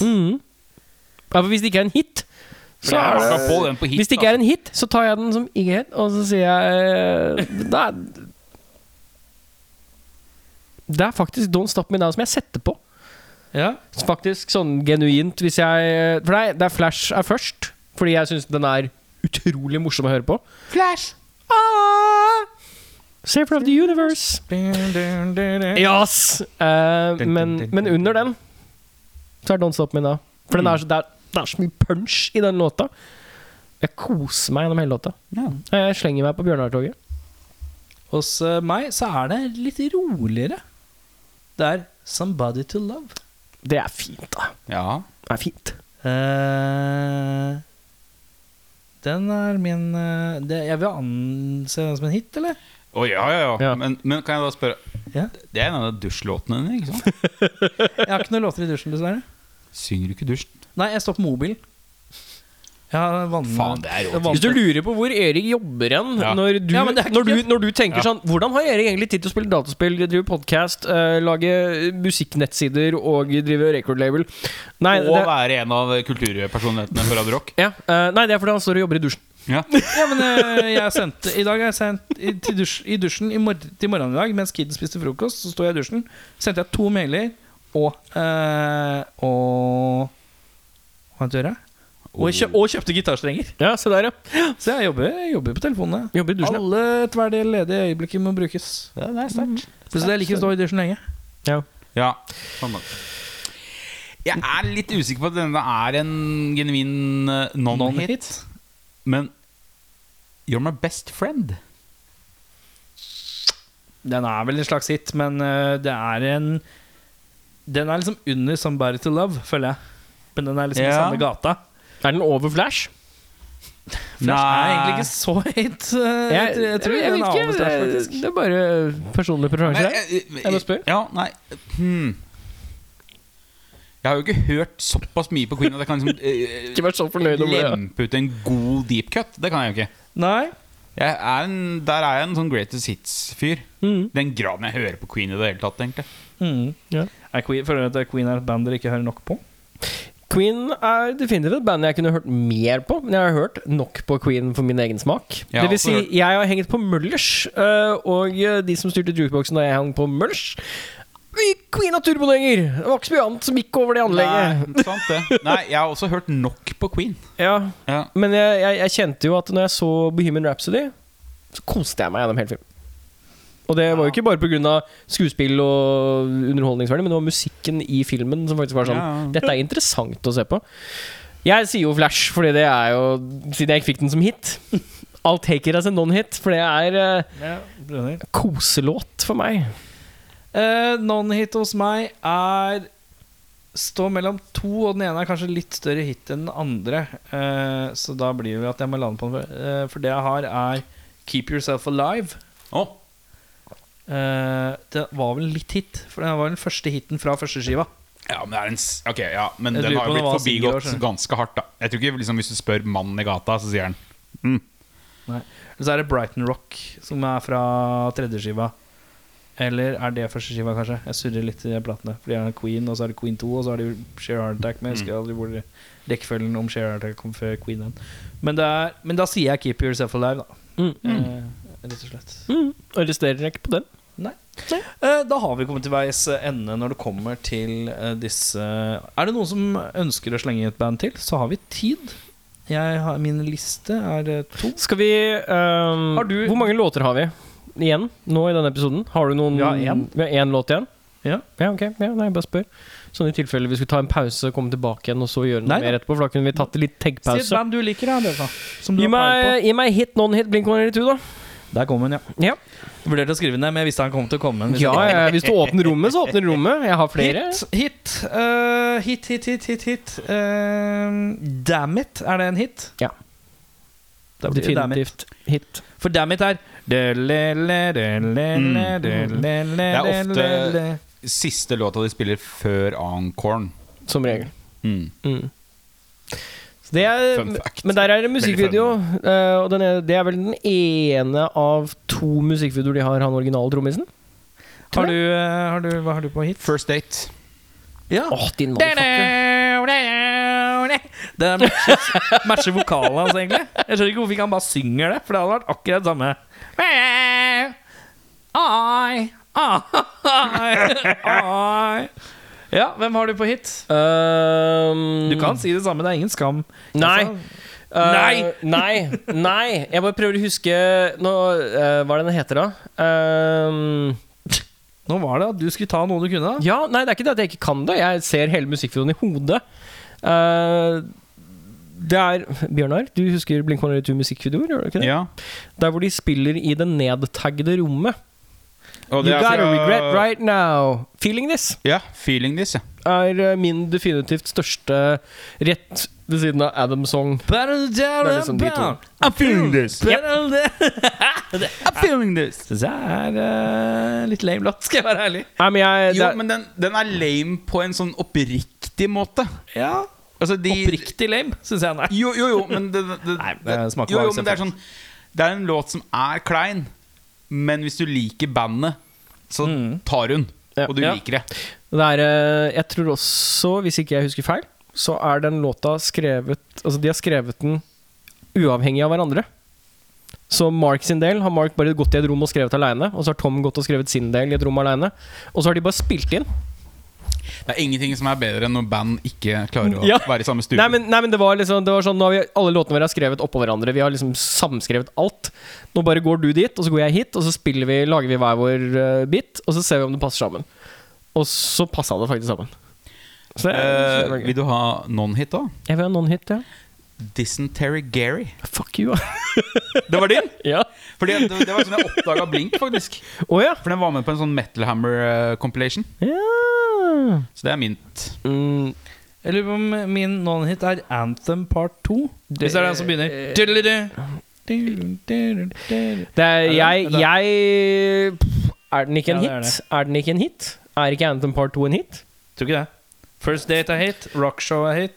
S2: Mhm. Ja, for hvis det ikke er en hit, så er det
S3: Skal på den på hit,
S2: Hvis det ikke er en hit, så tar jeg den som ikke hit, og så sier jeg eh, det er, det er faktisk Don't Stop Me Now som jeg setter på.
S1: Ja.
S2: Faktisk sånn genuint, hvis jeg For nei, det er Flash er først, fordi jeg syns den er utrolig morsom å høre på. Flash! Ah! Safer of the Universe. Yes! Eh, men, men under den så er Don't Stop Me Now. For den er så, det, er, det er så mye punch i den låta. Jeg koser meg gjennom hele låta.
S3: Ja.
S2: Jeg slenger meg på Bjørnar-toget.
S1: Hos eh, meg så er det litt roligere. Det er 'Somebody to Love'.
S2: Det er fint, da.
S3: Ja.
S2: Det er fint.
S1: Eh, den er min eh, det, Jeg vil anse den som en hit, eller?
S3: Å ja, ja, ja.
S2: Ja.
S3: Men, men kan jeg da spørre
S1: Ja.
S3: Det er en av dusjlåtene dine, ikke sant?
S1: Jeg har ikke noen låter i dusjen, dessverre.
S3: Synger du ikke dusj?
S1: Nei, jeg står på mobilen. Jeg har vann-
S3: Faen, det er rått.
S1: vann-
S2: Hvis du lurer på hvor Erik jobber hen
S3: Ja.
S2: når, du,
S1: Ja, men det er ikke-
S2: når, du, når du tenker sånn Hvordan har Erik egentlig tid til å spille dataspill, drive podkast, lage musikknettsider og drive recordlabel? Nei,
S3: Og
S2: det,
S3: være en av kulturpersonlighetene for Radio Rock.
S2: ja, eh, nei, det er fordi han står og jobber i dusjen.
S3: Ja.
S1: Ja, men eh, jeg sendte I dag har jeg sendt i, til dusj, i dusjen i mor til morgenen i dag mens kiden spiste frokost. Så sto jeg i dusjen. Sendte jeg to mailer og eh, Og Hva heter det? Og, kjø og kjøpte gitarstrenger.
S2: Ja, se der, ja.
S1: Så jeg jobber, jeg jobber på telefonene.
S2: Jobber i dusjen, ja.
S1: Alle tverdige ledige øyeblikker må brukes. Mhm.
S3: Ja, det er sterkt.
S1: Plutselig jeg liker å stå i dusjen lenge.
S2: ja.
S3: Ja. Sånn da. Jeg er litt usikker på at denne er en genuin eh, non-hit,
S1: Non-hit.
S3: men You're My Best Friend.
S1: Den er vel en slags hit, men eh, det er en Den er liksom under 'Somebody to Love', føler jeg. Men den er liksom i
S3: Ja.
S1: samme gata.
S2: Er den over Flash?
S1: Flash er egentlig ikke så høyt. eh, Jeg, tror- jeg eh, tror
S2: jeg
S1: den
S2: vet
S1: er over
S2: ikke,
S1: Flash,
S2: det,
S1: faktisk.
S2: det er bare personlig preferanse der.
S3: Men, eh,
S2: Jeg må spørre.
S3: Ja, nei hmm. Jeg har jo ikke hørt såpass mye på Queen at jeg kan liksom, eh,
S2: Ikke vært så fornøyd om det. ja.
S3: lempe ut en god deep cut. Det kan jeg jo ikke.
S1: Nei.
S3: Jeg er en, der er jeg en sånn greatest hits-fyr.
S2: Mm.
S3: Den graden jeg hører på Queen i det hele tatt, egentlig.
S1: Mm.
S2: Ja.
S1: Er Queen, føler du at Queen er et band dere ikke hører nok på?
S2: Queen er definitivt et band jeg kunne hørt mer på, men jeg har hørt nok på Queen for min egen smak.
S3: Jeg har
S2: det vil
S3: også
S2: si,
S3: hørt-
S2: jeg har hengt på Møllers, øh, og øh, de som styrte jukeboxen da jeg hang på Møllers vi- Queen og turbolenger! Det var ikke så mye annet som gikk over det anlegget.
S3: Nei, sant det. Nei, jeg har også hørt nok på Queen.
S2: Ja,
S3: Ja.
S2: men jeg, jeg, jeg kjente jo at når jeg så Bohemian Rhapsody, så koste jeg meg gjennom hele filmen. Og det var jo ikke bare pga. skuespill og underholdningsverdi, men det var musikken i filmen som faktisk var sånn
S3: Ja, ja.
S2: Dette er interessant å se på. Jeg sier jo Flash, fordi det er jo Siden jeg ikke fikk den som hit. I'll take it as a non-hit, for det er eh, koselåt for meg.
S1: Eh, Non-hit hos meg er Står mellom to, og den ene er kanskje litt større hit enn den andre. Eh, så da blir det vel at jeg må lande på den. For, eh, for det jeg har, er Keep Yourself Alive.
S3: Å,
S1: Eh, det var vel litt hit, for det var den første hiten fra første skiva.
S3: Ja, men det er en s- Ok, ja, men
S1: Jeg
S3: den
S1: lurer
S3: har
S1: på om
S3: jo
S1: det
S3: blitt
S1: var single,
S3: forbigått
S1: skjønner du.
S3: ganske hardt, da. Jeg tror ikke liksom, Hvis du spør mannen i gata, så sier han mm.
S1: Nei. Eller så er det Brighton Rock, som er fra tredje skiva. Eller er det første skiva, kanskje? Jeg surrer litt i platene. For de er Queen, og så er det Queen 2, og så er det jo Share Heart Attack. Men jeg husker aldri hvor rekkefølgen om Share Heart Attack kom før Queen. igjen. Men, det er, men da sier jeg Keep Yourself Alive, da.
S2: Mm.
S1: Eh, rett og slett.
S2: Mm. Arresterer jeg ikke på den?
S1: Eh, Da har vi kommet til veis ende når det kommer til eh, disse Er det noen som ønsker å slenge et band til, så har vi tid. Jeg har, min liste er eh, to.
S2: Skal vi ehm,
S1: Har du-
S2: Hvor mange låter har vi igjen nå i denne episoden? Har du noen
S1: Vi har én.
S2: Vi har én låt igjen?
S1: Ja.
S2: ja ok. Ja, nei, jeg bare spør. Sånn i tilfelle vi skulle ta en pause, komme tilbake igjen og så gjøre noe
S1: Nei,
S2: mer etterpå. For da kunne vi tatt litt
S1: Si et
S2: tag-pause.
S1: band du liker, da. Bjørka, Som du
S2: Gi
S1: har peil
S2: meg, gi meg hit, non-hit, blink 182, da.
S1: på. Der kom hun, ja.
S2: Ja.
S1: Jeg Vurderte å skrive den ned, men jeg visste han kom til å komme. Hvis
S2: Ja, ja, hvis du åpner rommet, så åpner rommet. Jeg har flere.
S1: Hit, hit, eh, hit, hit, hit, hit, hit. Eh, damn it, er det en hit?
S2: Ja.
S1: Da blir det damn it.
S2: Definitivt hit.
S1: For damn it er
S2: Mm.
S1: Det
S3: er ofte- Siste låta de spiller før encoren.
S2: Som regel.
S3: Mm.
S2: Mm. Så det er,
S3: Fun fact.
S2: men der er det musikkvideo,
S3: Veldig
S2: eh, og den er, det er vel den ene av to musikkvideoer de har, han originale trommisen.
S1: Har du, eh, har du, hva har du på hit?
S3: First date.
S1: Ja.
S2: Åh, din motherfucker.
S1: Det matcher, matcher vokalen hans, egentlig. Jeg skjønner ikke hvorfor ikke han bare synger det, for det hadde vært akkurat det samme. Ai, ai, ai. Ja, hvem har du på hit?
S2: Ehm,
S1: Du kan si det samme, det er ingen skam.
S2: Nei.
S1: Altså,
S2: Eh,
S1: Nei!
S2: nei! Nei! Jeg bare prøver å huske nå, eh, Hva er det den heter, da? Ehm,
S1: Nå var det at du skulle ta noe du kunne. da.
S2: ja, nei, det er ikke det at jeg ikke kan det. Jeg ser hele musikkvideoen i hodet. Eh, det er Bjørnar, du husker Blink 182 musikkvideoer? Gjør du ikke det?
S3: Ja.
S2: Der hvor de spiller i det nedtaggede rommet.
S3: Og
S2: You
S3: det er
S2: gotta
S3: fra-
S2: regret right now. Feeling this
S3: Ja, feeling this, ja.
S2: er eh, min definitivt største rett ved siden av Adam Song.
S1: Better down
S2: Det er liksom
S1: and
S2: de to.
S1: bound.
S3: I'm feeling this.
S1: Better than-
S3: I'm feeling this.
S1: Synes jeg er eh, litt lame låt, skal jeg være ærlig.
S2: Nei, men jeg
S3: Jo,
S2: det,
S3: men den, den er lame på en sånn oppriktig måte.
S1: Ja,
S3: Altså, de,
S1: Oppriktig lame, syns jeg den er.
S3: Jo, jo, jo, men det, det, det,
S1: Nei, det smaker
S3: jo, jo,
S1: bare
S3: men det er sånn Det er en låt som er klein, men hvis du liker bandet, så tar hun.
S2: Ja.
S3: Og du
S1: Ja.
S3: liker det.
S2: det er eh, Jeg tror også, hvis ikke jeg husker feil, så er den låta skrevet Altså, de har skrevet den uavhengig av hverandre. Så Mark sin del har Mark bare gått i et rom og skrevet aleine. Og så har Tom gått og skrevet sin del i et rom aleine. Og så har de bare spilt inn.
S3: Det er ingenting som er bedre enn når band ikke klarer å
S2: Ja.
S3: være i samme stue.
S2: Nei men, nei, men det var liksom det var sånn, Nå har vi alle låtene våre er skrevet oppå hverandre. Vi har liksom samskrevet alt. Nå bare går du dit, og så går jeg hit, og så spiller vi, lager vi hver vår eh, bit, og så ser vi om det passer sammen. Og så passa det faktisk sammen. Så det,
S3: Eh,
S2: så det var
S3: vil
S2: gøy.
S3: du ha non-hit òg?
S2: Jeg vil ha noen hit, ja.
S3: Dysentery Gary.
S2: Fuck you,
S3: Det var din?
S2: ja.
S3: Fordi det, det var sånn jeg oppdaga Blink, faktisk.
S2: Å ja.
S3: For den var med på en sånn Metal Hammer-compilation.
S2: ja.
S3: Så det er mint.
S2: Mm,
S1: Jeg lurer på om min non-hit er Anthem part 2. Hvis det Eh, er den som begynner Diddelidu.
S2: det er, jeg,
S1: Er det-
S2: jeg Er den ikke en
S1: Ja, det er
S2: hit? Er den ikke en hit? Er ikke Anthem Part 2 en hit?
S1: Tror ikke det. First Date er hit. Rockshow er hit.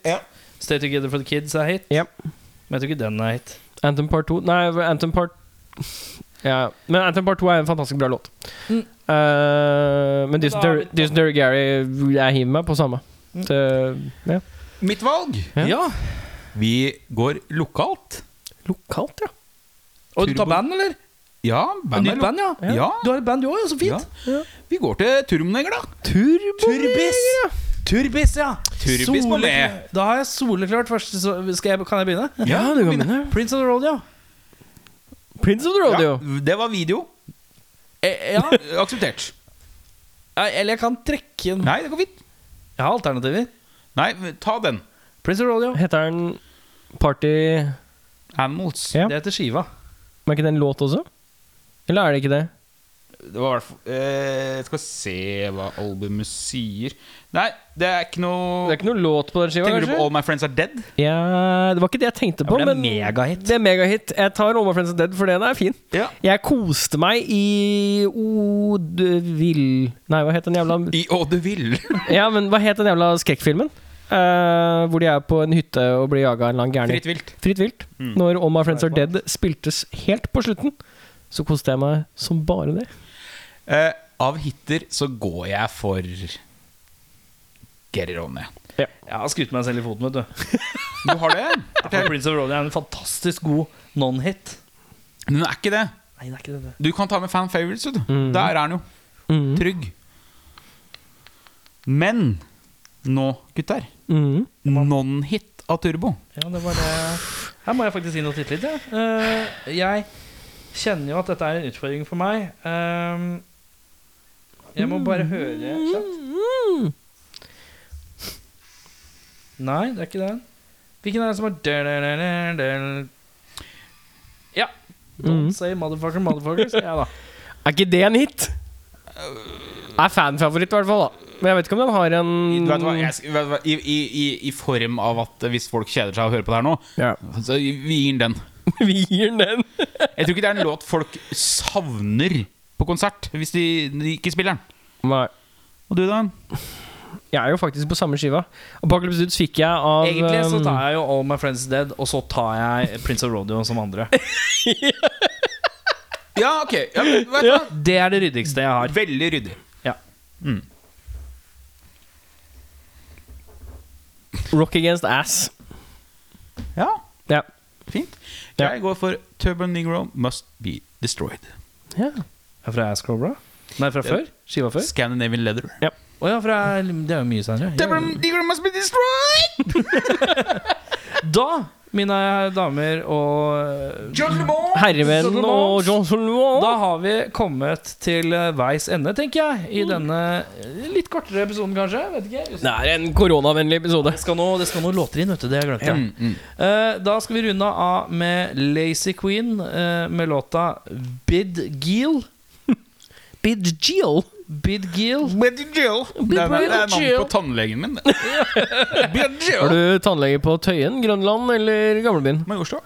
S1: Stay Together for the Kids er hit.
S2: Ja.
S1: Men jeg tror ikke den er hit.
S2: Anthem Part 2 Nei, Anthem Part ja. Men Anthem Part 2 er en fantastisk bra låt.
S1: Mm.
S2: Eh, men
S1: da har vi-
S2: Dysentery Gary Jeg hiver meg på samme.
S3: Mm.
S2: Så, ja.
S3: Mitt valg!
S2: Ja.
S3: Vi går lokalt.
S2: Lokalt, ja.
S1: Og du tar
S3: Turbo-
S1: band, eller?
S3: Ja,
S1: Et
S3: bandet
S1: nytt band, ja?
S3: Ja.
S1: Du har et band du òg, ja. Så fint.
S3: Ja. Vi går til Turboneger, da.
S2: Turbo
S1: Turbis! Turbis, ja.
S3: Turbis må le.
S1: Soleklar- Da har jeg soleklart første så- skal jeg, Kan jeg begynne?
S2: Ja, du kan begynne.
S1: Prince of the Road, ja.
S2: Prince of the Road, jo.
S3: Ja, det var video.
S1: Eh, ja.
S3: Akseptert.
S1: Eller jeg kan trekke en
S3: Nei, det går fint.
S1: Jeg har alternativer.
S3: Nei, ta den.
S1: Prince of the Road, ja.
S2: Heter den Party
S3: Animals.
S2: Ja.
S1: Det heter skiva.
S2: Men er ikke det en låt også? Eller er det ikke det?
S3: Det var i hvert fall eh, Skal se hva albumet sier Nei, det er ikke noe
S2: Det er ikke noen låt på den skiva,
S3: Tenker du på
S2: kanskje?
S3: All My Friends Are Dead?
S2: Ja, det var ikke det jeg tenkte på,
S1: Ja, men
S2: men
S1: det er megahit.
S2: Det er megahit. Jeg tar All My Friends Are Dead, for den er fin.
S3: Ja.
S2: Jeg koste meg i Odvill Nei, hva het den jævla
S3: I Å, du vil.
S2: Ja, men hva het den jævla skrekkfilmen? eh, hvor de er på en hytte og blir jaga av en eller annen gærning.
S3: Fritt vilt. Mm.
S2: Fritt vilt. Når All My Friends Are Dead spiltes helt på slutten, så koste jeg meg som bare det.
S3: Eh, av hitter så går jeg for Get it on, jeg.
S1: Jeg har skutt meg selv i foten, vet du.
S3: Du har det?
S1: For Prince of Rodia er en fantastisk god non-hit.
S3: Men den er ikke det.
S1: Nei, det er ikke det.
S3: Du kan ta med fan favorites, vet du. Der er den jo.
S2: Mm.
S3: Trygg. Men nå, gutter.
S2: Mhm.
S3: Non-hit av Turbo.
S1: Ja, det var det. Her må jeg faktisk inn og titte litt. Jeg. Eh, jeg kjenner jo at dette er en utfordring for meg. Ehm, jeg må bare høre kjapt. Nei, det er ikke den. Hvilken er det som er del, del, del, del? Ja. Don't say motherfucker, motherfucker, sier jeg da.
S2: Er ikke det en hit? Er fanfavoritt, i hvert fall. da Men jeg vet ikke om den har en
S3: Du vet hva, jeg, vet du hva, i, i, i, I form av at hvis folk kjeder seg av å høre på det her nå,
S2: Ja.
S3: så vi gir den den.
S2: Vi gir den den.
S3: Jeg tror ikke det er en låt folk savner på konsert hvis de, de ikke spiller den.
S2: Nei.
S3: Og du, da?
S2: Jeg er jo faktisk på samme skiva. Apocalypse Dudes fikk jeg av
S1: Egentlig så
S2: um,
S1: tar jeg jo All My Friends Is Dead, og så tar jeg Prince of Rodeo som andre.
S3: Ja, ok. Ja, men vet du hva?
S1: Det er det ryddigste jeg har.
S3: Veldig ryddig.
S1: Ja.
S2: Rock Against Ass.
S3: Ja,
S2: Ja.
S3: fint.
S2: Ja.
S3: Jeg går for Turbo Negro Must Be Destroyed.
S2: ja.
S1: Er Fra Ass Cobra? Nei, fra før? Skiva før?
S3: Scandinavian Leather.
S1: Å ja, for det er, det er jo mye senere.
S3: Turbo Negro Must Be Destroyed!
S1: Da, mine damer og
S3: John LeBond!
S2: Herremenn og Johnson
S1: Da
S2: Law.
S1: har vi kommet til veis ende, tenker jeg, i denne litt kortere episoden, kanskje. Vet ikke.
S2: Det er en koronavennlig episode.
S1: Det skal, noe, det skal noe låter inn, vet du. Det har jeg glemt. Ja. Eh, da skal vi runde av med Lazy Queen eh, med låta Bid Giel.
S2: Bid Gill.
S1: Bid Giel.
S3: Betty Jill. Det er det er navnet på tannlegen min. det. Betty Jill.
S2: Har du tannlege på Tøyen, Grønland eller gamlebyen?
S3: Må i Oslo.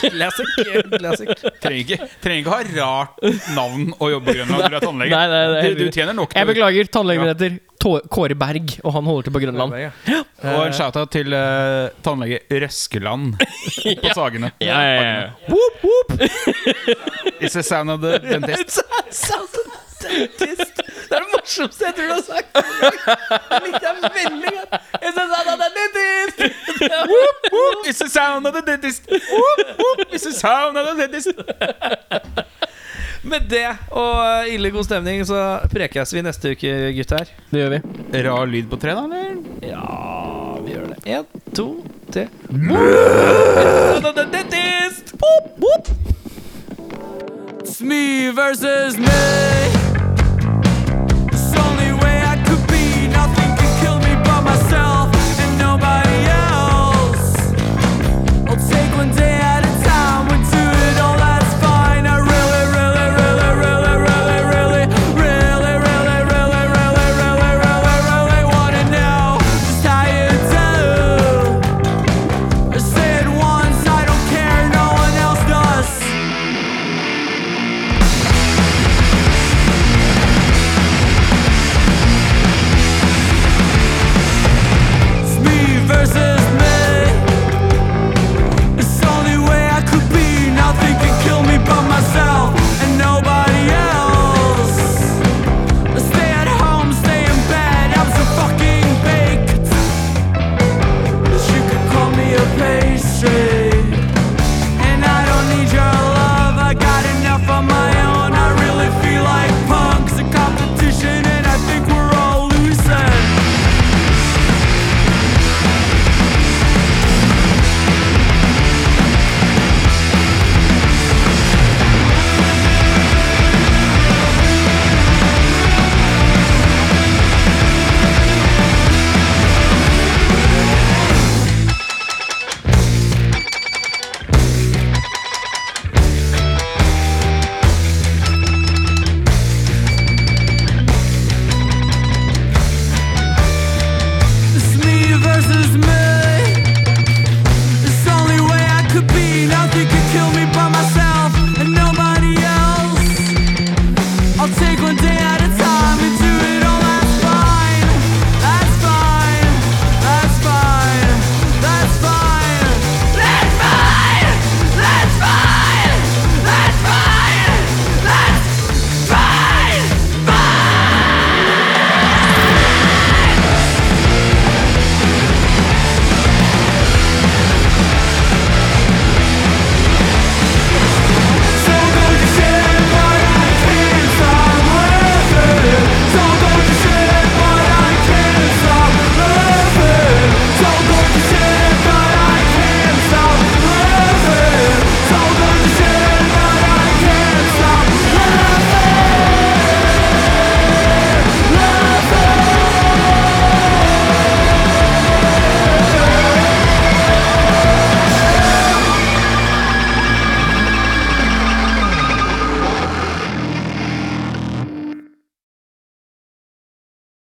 S1: Classic. Classic.
S3: Trenger ikke, trenger ikke ha rart navn å jobbe i Grønland når du er tannlege.
S2: Nei, nei, nei,
S3: du, du tjener nok.
S2: Jeg beklager, tannlegen min heter Tå- Kåre Berg, og han holder til på Grønland.
S3: Og en shout-out til eh, tannlege Røskeland på Sagene.
S2: Ja, ja, ja.
S3: It's the sound of the dentist.
S1: Det er det morsomste jeg tror du har sagt. Jeg likte deg veldig godt. Jeg synes han hadde litt is.
S3: Whoop, It's the sound of the dentist. Whoop, whoop, It's the sound of the dentist.
S1: Med det og eh, ille god stemning så prekes vi neste uke, gutter.
S2: Det gjør vi.
S3: Rar lyd på tre, da? eller?
S1: Ja, vi gjør det. Én, to, tre.
S8: Smee versus me.